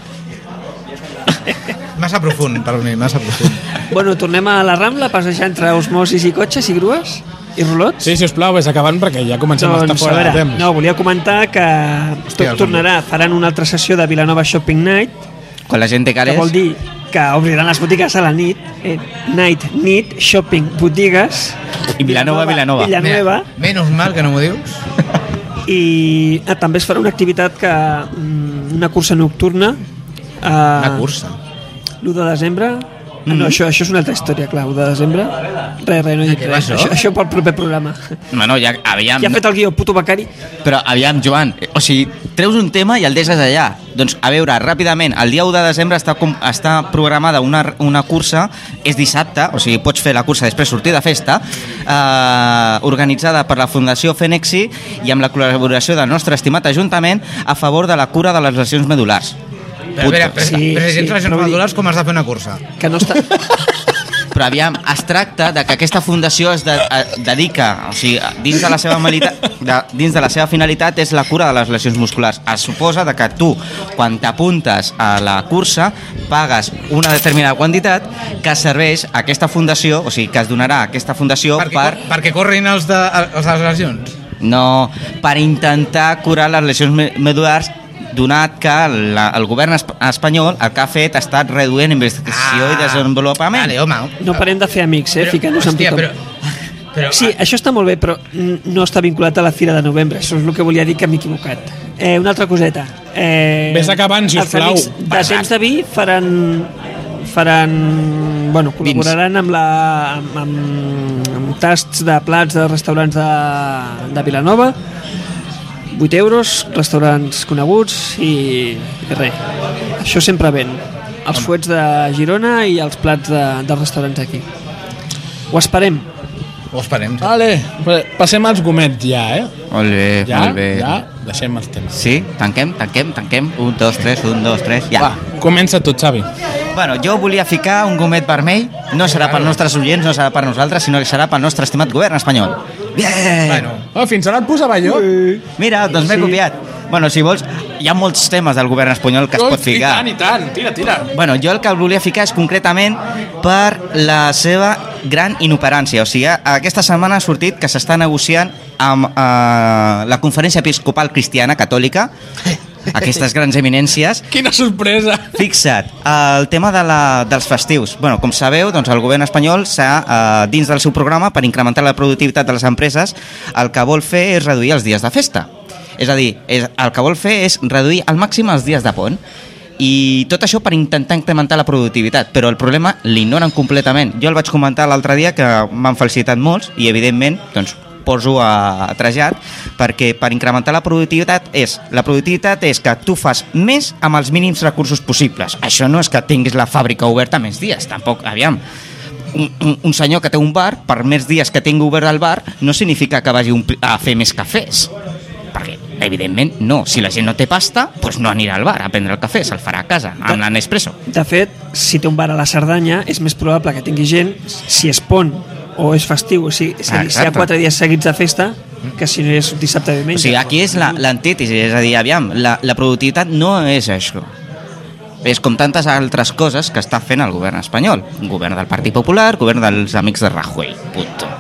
Speaker 4: massa profund, per mi, massa profund.
Speaker 2: bueno, tornem a la Rambla, passejar entre osmosis i cotxes i grues i rolots.
Speaker 1: Sí, si us plau, vés acabant perquè ja comencem a estar
Speaker 2: Doncs, a
Speaker 1: fora de
Speaker 2: veure,
Speaker 1: temps.
Speaker 2: no, volia comentar que
Speaker 4: Hòstia,
Speaker 2: tot tornarà, faran una altra sessió de Vilanova Shopping Night
Speaker 3: Quan la gent té
Speaker 2: que
Speaker 3: cares...
Speaker 2: vol dir que obriran les botigues a la nit eh, night, nit, shopping, botigues
Speaker 3: I Vilanova, Vilanova.
Speaker 2: Villanueva
Speaker 4: Menys mal que no m'ho dius.
Speaker 2: i ah, també es farà una activitat que mm, una cursa nocturna eh,
Speaker 4: Una Mm. cursa.
Speaker 2: l'1 de desembre Ah, no, això, això és una altra història, clar, 1 de desembre. Res, res, no he dit
Speaker 4: Ah, què va,
Speaker 2: res.
Speaker 4: això?
Speaker 2: Això, això pel proper programa.
Speaker 3: Bueno, ja, aviam,
Speaker 2: Qui ha
Speaker 3: no-
Speaker 2: fet el guió, puto becari?
Speaker 3: Però aviam, Joan, eh, o sigui, treus un tema i el deixes allà. Doncs, a veure, ràpidament, el dia 1 de desembre està, com, està programada una, una cursa, és dissabte, o sigui, pots fer la cursa després sortir de festa, eh, organitzada per la Fundació Fenexi i amb la col·laboració del nostre estimat Ajuntament a favor de la cura de les lesions medulars.
Speaker 4: Però, a veure, però,
Speaker 2: Sí,
Speaker 4: sí, però si
Speaker 2: sí,
Speaker 4: tens les
Speaker 2: però vull dir-
Speaker 4: dòlars, com has de fer una cursa?
Speaker 2: Que no està...
Speaker 3: Però aviam, es tracta de que aquesta fundació es de, a, dedica, o sigui, a- dins de, la seva malita, de, dins de la seva finalitat és la cura de les lesions musculars. Es suposa de que tu, quan t'apuntes a la cursa, pagues una determinada quantitat que serveix a aquesta fundació, o sigui, que es donarà a aquesta fundació
Speaker 4: perquè,
Speaker 3: per,
Speaker 4: cor- perquè corrin els de, els de les lesions?
Speaker 3: no, per intentar curar les lesions me- medulars donat que la, el govern esp espanyol el que ha fet ha estat reduint investigació i desenvolupament.
Speaker 4: Ah. Vale, home.
Speaker 2: No parem de fer amics, eh? Ficant-nos amb
Speaker 4: hòstia,
Speaker 2: tothom.
Speaker 4: però, però,
Speaker 2: Sí,
Speaker 1: ah.
Speaker 2: això està molt bé, però mm, no està vinculat a la Fira de Novembre. Això és el que volia dir que m'he equivocat. Eh, una altra coseta. Eh,
Speaker 1: Ves acabant, sisplau.
Speaker 2: els amics De
Speaker 1: Basat.
Speaker 2: temps de vi faran... faran bueno, col·laboraran amb, la, amb, amb, amb tasts de plats de restaurants de, de Vilanova 8 euros, restaurants coneguts i, i res. Això sempre ven. Els fuets de Girona i els plats de, dels restaurants d'aquí. Ho esperem.
Speaker 4: ah, Ho esperem.
Speaker 1: Vale, pa- passem als gomets ja, eh?
Speaker 3: Molt bé,
Speaker 1: Ja,
Speaker 3: molt bé.
Speaker 1: ja, deixem els temes.
Speaker 3: Sí, tanquem, tanquem, tanquem. Un, dos, tres, un, dos, tres, ja.
Speaker 1: Va,
Speaker 3: Va.
Speaker 1: comença tu, Xavi.
Speaker 3: Bueno, jo volia ficar un gomet vermell. No serà per nostres oients, no serà per nosaltres, sinó que serà pel nostre estimat govern espanyol. Bien!
Speaker 4: Bueno,
Speaker 1: Oh, fins ara et posava jo.
Speaker 3: Mira, doncs m'he copiat. Bueno, si vols, hi ha molts temes del govern espanyol que es pot
Speaker 1: I
Speaker 3: ficar.
Speaker 1: tant, i tant. Tira, tira.
Speaker 3: Bueno, jo el que el volia ficar és concretament per la seva gran inoperància. O sigui, aquesta setmana ha sortit que s'està negociant amb eh, la Conferència Episcopal Cristiana Catòlica, aquestes grans eminències,
Speaker 1: Quina sorpresa.
Speaker 3: Fixa't, el tema de la, dels festius. Bueno, com sabeu, doncs el govern espanyol s'ha, eh, dins del seu programa per incrementar la productivitat de les empreses, el que vol fer és reduir els dies de festa. És a dir, és, el que vol fer és reduir al màxim els dies de pont. I tot això per intentar incrementar la productivitat, però el problema l'ignoren completament. Jo el vaig comentar l'altre dia que m'han felicitat molts i, evidentment, doncs, poso a, a trajat perquè per incrementar la productivitat és la productivitat és que tu fas més amb els mínims recursos possibles això no és que tinguis la fàbrica oberta més dies tampoc, aviam un, un, un senyor que té un bar, per més dies que tingui obert el bar, no significa que vagi ompli- a fer més cafès perquè evidentment no, si la gent no té pasta doncs no anirà al bar a prendre el cafè se'l farà a casa, amb la Nespresso
Speaker 2: De fet, si té un bar a la Cerdanya, és més probable que tingui gent si és pont o és festiu, o sigui, és a dir, si hi ha
Speaker 3: Ah, Exacte. Mm.
Speaker 2: quatre dies seguits de festa, que si no és dissabte o
Speaker 3: O
Speaker 2: diumenge.
Speaker 3: sigui, ah, aquí és la- l'antítesi, és a dir, aviam, la, la productivitat no és això. És com tantes altres coses que està fent el govern espanyol. Govern del Partit Popular, govern dels amics de Rajoy, punto.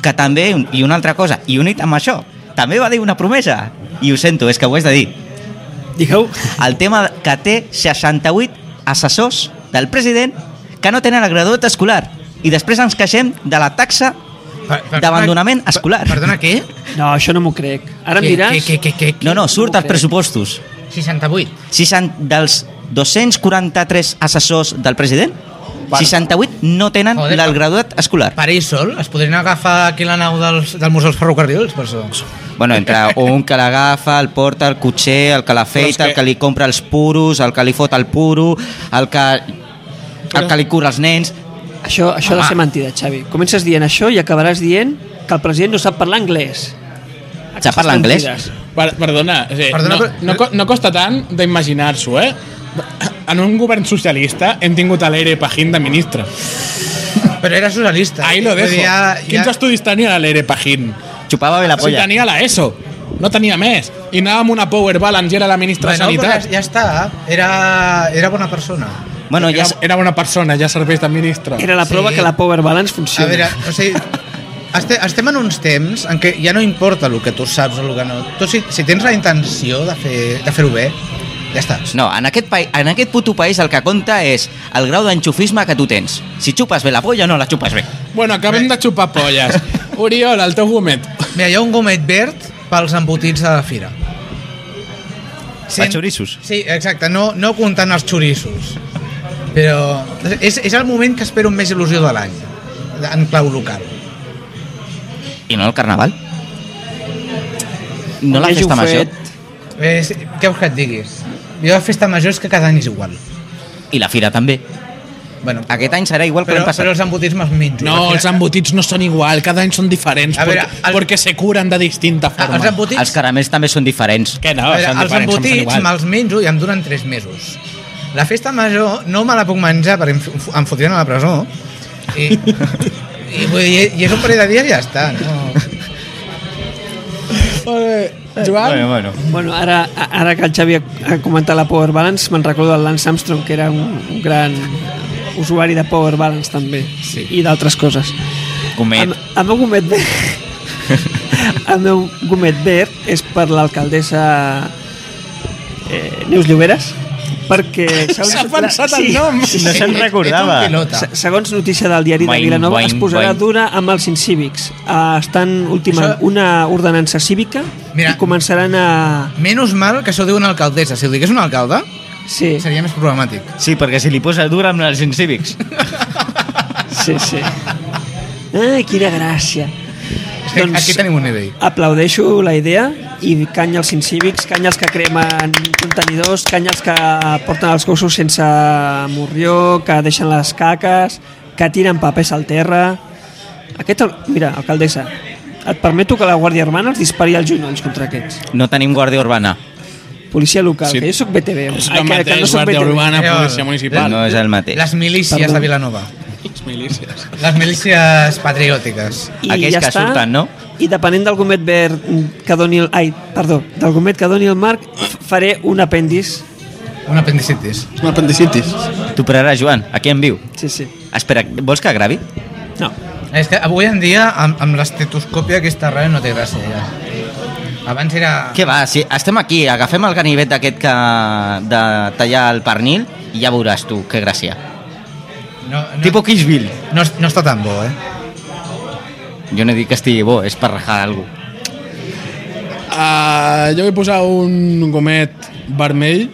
Speaker 3: Que també, i una altra cosa, i unit amb això, també va dir una promesa, i ho sento, és que ho has de dir.
Speaker 2: Digueu,
Speaker 3: El tema que té 68 assessors del president que no tenen el graduat escolar i després ens queixem de la taxa
Speaker 4: Per- per-
Speaker 3: d'abandonament
Speaker 4: per-
Speaker 3: escolar.
Speaker 4: Perdona, què?
Speaker 2: no, això no m'ho crec. Ara em
Speaker 4: Què-
Speaker 2: diràs...
Speaker 4: què- què- què- què?
Speaker 3: No, no, surt als pressupostos.
Speaker 4: 68.
Speaker 3: 60 dels 243 assessors del president, 68 no tenen
Speaker 4: Joder,
Speaker 3: el
Speaker 4: pa-
Speaker 3: graduat escolar.
Speaker 4: Per ell sol, es podrien agafar aquí la nau dels, del Museu dels Ferrocarrils, per això.
Speaker 3: Bueno, entre un que l'agafa, el porta, el cotxer, el que l'afeita,
Speaker 1: Però és
Speaker 3: el
Speaker 1: que-
Speaker 3: que li compra els puros, el que li fot el puro, el que, el que li cura els nens...
Speaker 2: Això, això ha
Speaker 3: Ah.
Speaker 2: de ser mentida, Xavi. Comences dient això i acabaràs dient que el president no sap parlar anglès.
Speaker 3: Sap parlar anglès?
Speaker 1: Per, perdona, o sigui,
Speaker 4: Perdona,
Speaker 1: no,
Speaker 4: però-
Speaker 1: no, co- no costa tant d'imaginar-s'ho, eh? En un govern socialista hem tingut a l'Ere Pajín de ministre.
Speaker 4: Però era socialista.
Speaker 1: Ahí lo
Speaker 4: Vull
Speaker 1: dejo.
Speaker 4: dir, Ja,
Speaker 1: Quins
Speaker 4: ja...
Speaker 1: estudis tenia l'Ere Pajín?
Speaker 3: Xupava bé la
Speaker 1: Si
Speaker 3: polla.
Speaker 1: tenia la Pues ESO. No tenia més. I anava amb una power balance i era la ministra
Speaker 4: Bueno,
Speaker 1: de
Speaker 4: però
Speaker 1: Sanitat.
Speaker 4: ja, ja està, era, era bona persona.
Speaker 3: Bueno, ja,
Speaker 1: Era,
Speaker 3: s-
Speaker 1: era una persona, ja serveix de ministre.
Speaker 2: Era la
Speaker 4: Sí.
Speaker 2: prova que la power balance
Speaker 4: A
Speaker 2: funciona.
Speaker 4: veure, o sigui, este, estem en uns temps en què ja no importa el que tu saps o el que no. Tu, si, si tens la intenció de fer-ho de fer bé, ja està.
Speaker 3: no, en aquest, pa... en aquest puto país el que compta és el grau d'enxufisme que tu tens. Si xupes bé la polla o no la xupes bé.
Speaker 1: Bueno, acabem de xupar polles. Oriol, el teu gomet.
Speaker 4: Mira, hi ha un gomet verd pels embotits de la fira.
Speaker 3: Per
Speaker 1: Ah,
Speaker 3: xoriços.
Speaker 4: Sí, exacte, no, no comptant els xoriços. Però és, és el moment que espero amb més il·lusió de l'any, en clau local.
Speaker 3: I no el carnaval. No la festa major.
Speaker 4: Eh, sí, què vols que et diguis? Jo la festa major és que cada any és igual.
Speaker 3: I la fira també.
Speaker 4: Bueno,
Speaker 3: Aquest any serà igual que
Speaker 4: però,
Speaker 3: l'any passat.
Speaker 4: però els embotits me'ls menjo.
Speaker 1: Ah,
Speaker 4: Ah,
Speaker 1: No,
Speaker 4: Al
Speaker 1: els
Speaker 4: final-
Speaker 1: embotits no són igual, cada any són diferents,
Speaker 4: A veure,
Speaker 1: perquè,
Speaker 4: el-
Speaker 1: perquè se curen de distinta
Speaker 4: Ah,
Speaker 1: forma.
Speaker 4: els embotits,
Speaker 3: Els caramels també són diferents.
Speaker 1: Que no,
Speaker 4: a veure,
Speaker 1: són
Speaker 4: els
Speaker 1: diferents, són
Speaker 4: embotits
Speaker 1: igual.
Speaker 4: me'ls menjo i em duren 3 mesos. La festa major no me la puc menjar perquè em, f- em fotrien a la presó. I, i, vull dir, i és un parell de dies i ja està. No?
Speaker 1: Eh, Joan,
Speaker 3: bueno.
Speaker 2: Bueno, ara, ara que el Xavi ha- ha comentat la power balance, me'n recordo del Lance Armstrong, que era un, un gran usuari de power balance també, sí. i d'altres coses.
Speaker 3: Comet.
Speaker 2: El, el meu gomet verd... el meu gomet verd és per l'alcaldessa eh, Neus Lloberes, perquè... segons-
Speaker 1: S'ha pensat el
Speaker 2: Sí,
Speaker 1: nom.
Speaker 2: sí,
Speaker 3: No
Speaker 2: sí.
Speaker 3: se'n recordava.
Speaker 4: Ets un pilota.
Speaker 2: Se- Segons notícia del diari de
Speaker 3: Boing,
Speaker 2: Vilanova,
Speaker 3: boing,
Speaker 2: es posarà
Speaker 3: boing.
Speaker 2: dura amb els incívics. Eh, estan ultimant
Speaker 4: Això-
Speaker 2: una ordenança cívica
Speaker 4: Mira.
Speaker 2: i començaran a...
Speaker 4: Menys mal que això ho diu una alcaldessa. Si ho digués un alcalde,
Speaker 2: Sí,
Speaker 4: seria més problemàtic.
Speaker 3: Sí, perquè si li posa dura amb els incívics.
Speaker 2: sí, sí. Ai, quina gràcia. Doncs-
Speaker 4: És que
Speaker 1: Doncs
Speaker 4: Aquí tenim un nivell.
Speaker 2: aplaudeixo la idea i canya els incívics, canya els que cremen contenidors, canya els que porten els gossos sense morrió, que deixen les caques, que tiren papers al terra... Aquest, al- mira, alcaldessa, et permeto que la Guàrdia Urbana els dispari als genolls contra aquests.
Speaker 3: No tenim guàrdia urbana.
Speaker 2: Policia local,
Speaker 1: Sí.
Speaker 2: que jo soc BTV.
Speaker 1: és
Speaker 2: Ai,
Speaker 1: el
Speaker 2: eh, que- que no
Speaker 1: mateix,
Speaker 2: soc
Speaker 1: Guàrdia
Speaker 2: BTV.
Speaker 1: Urbana,
Speaker 4: Eh,
Speaker 1: Policia Municipal.
Speaker 3: No és el mateix.
Speaker 4: Les milícies
Speaker 2: Perdó.
Speaker 4: de Vilanova.
Speaker 1: Les milícies.
Speaker 4: Les milícies patriòtiques.
Speaker 2: I
Speaker 3: Aquells
Speaker 2: ja
Speaker 3: que
Speaker 2: està.
Speaker 3: surten, no?
Speaker 2: i depenent del gomet verd que doni el... Ai, perdó, del gomet que doni el Marc, f- faré un apèndix.
Speaker 4: Un apendicitis.
Speaker 8: És una apendicitis.
Speaker 3: T'ho pararà, Joan. Aquí en viu.
Speaker 2: Sí, sí.
Speaker 3: Espera, vols que gravi?
Speaker 2: No.
Speaker 4: És que avui en dia, amb, amb l'estetoscòpia aquesta ràdio no té gràcia ja. Abans era...
Speaker 3: Què va, si estem aquí, agafem el ganivet d'aquest que... de tallar el pernil i ja veuràs tu, que gràcia.
Speaker 4: No, no,
Speaker 3: Tipo Kishville.
Speaker 4: no, no està tan bo, eh?
Speaker 3: Jo no dic que estigui bo, és per rajar algú.
Speaker 1: Uh, jo vull posar un gomet vermell.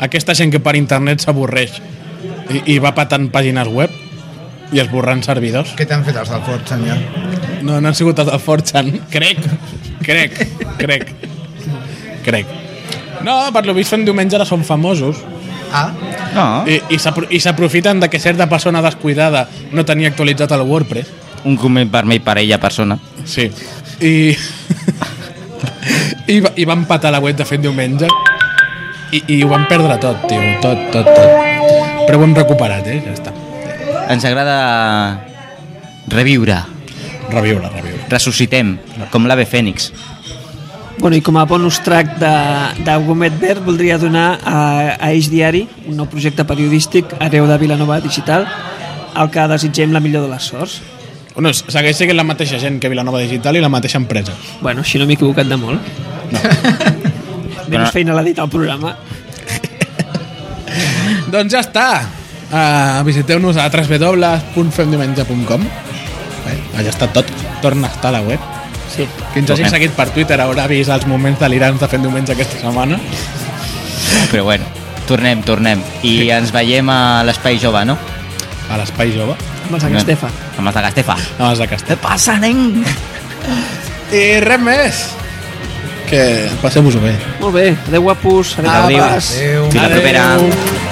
Speaker 1: Aquesta gent que per internet s'avorreix i, i va patant pàgines web i esborrant servidors.
Speaker 4: Què t'han fet els del Ford, senyor?
Speaker 1: No, no han sigut els de Forchan. Crec, crec, crec, crec. No, per lo vist fan diumenge ara són famosos
Speaker 4: Ah,
Speaker 3: No,
Speaker 1: i, i s'apro- i s'aprofiten de que certa persona descuidada no tenia actualitzat el WordPress.
Speaker 3: un comet vermell per a ella persona.
Speaker 1: Sí. I... I, va- I van patar la web de fet diumenge i, i ho van perdre tot, tio. Tot, tot, tot. Però ho hem recuperat, eh? Ja està.
Speaker 3: Ens agrada reviure,
Speaker 1: Reviure, reviure.
Speaker 3: ressuscitem, com l'ave fènix.
Speaker 2: Bueno, i com a bonus track de, de Gomet Verd voldria donar a, a Eix Diari, un nou projecte periodístic arreu de Vilanova Digital, al que desitgem la millor de les sorts.
Speaker 1: No, segueix sent la mateixa gent que Vilanova Digital i la mateixa empresa.
Speaker 2: Bueno, així no m'he equivocat de molt. No. Menys feina l'ha dit el programa.
Speaker 1: doncs ja està. Uh, Visiteu-nos a www.femdiumenge.com eh? Allà està tot. Torna a estar a la web.
Speaker 2: Sí.
Speaker 1: Qui ens hagi
Speaker 3: Tornem.
Speaker 1: seguit per Twitter haurà vist els moments delirants de fent diumenge aquesta setmana.
Speaker 3: Però bueno, tornem, tornem. I ens veiem a l'Espai Jove, no?
Speaker 1: A l'Espai Jove.
Speaker 2: Amb els Agastefa.
Speaker 3: Amb els de Castefa.
Speaker 1: No, els de Castell.
Speaker 3: Què passa, nen?
Speaker 1: I res més. Que passem-vos-ho bé.
Speaker 2: Molt bé, adeu guapos, adeu
Speaker 3: Adéu.
Speaker 2: guapes.
Speaker 4: adéu.
Speaker 3: Fins la propera.
Speaker 1: Adéu.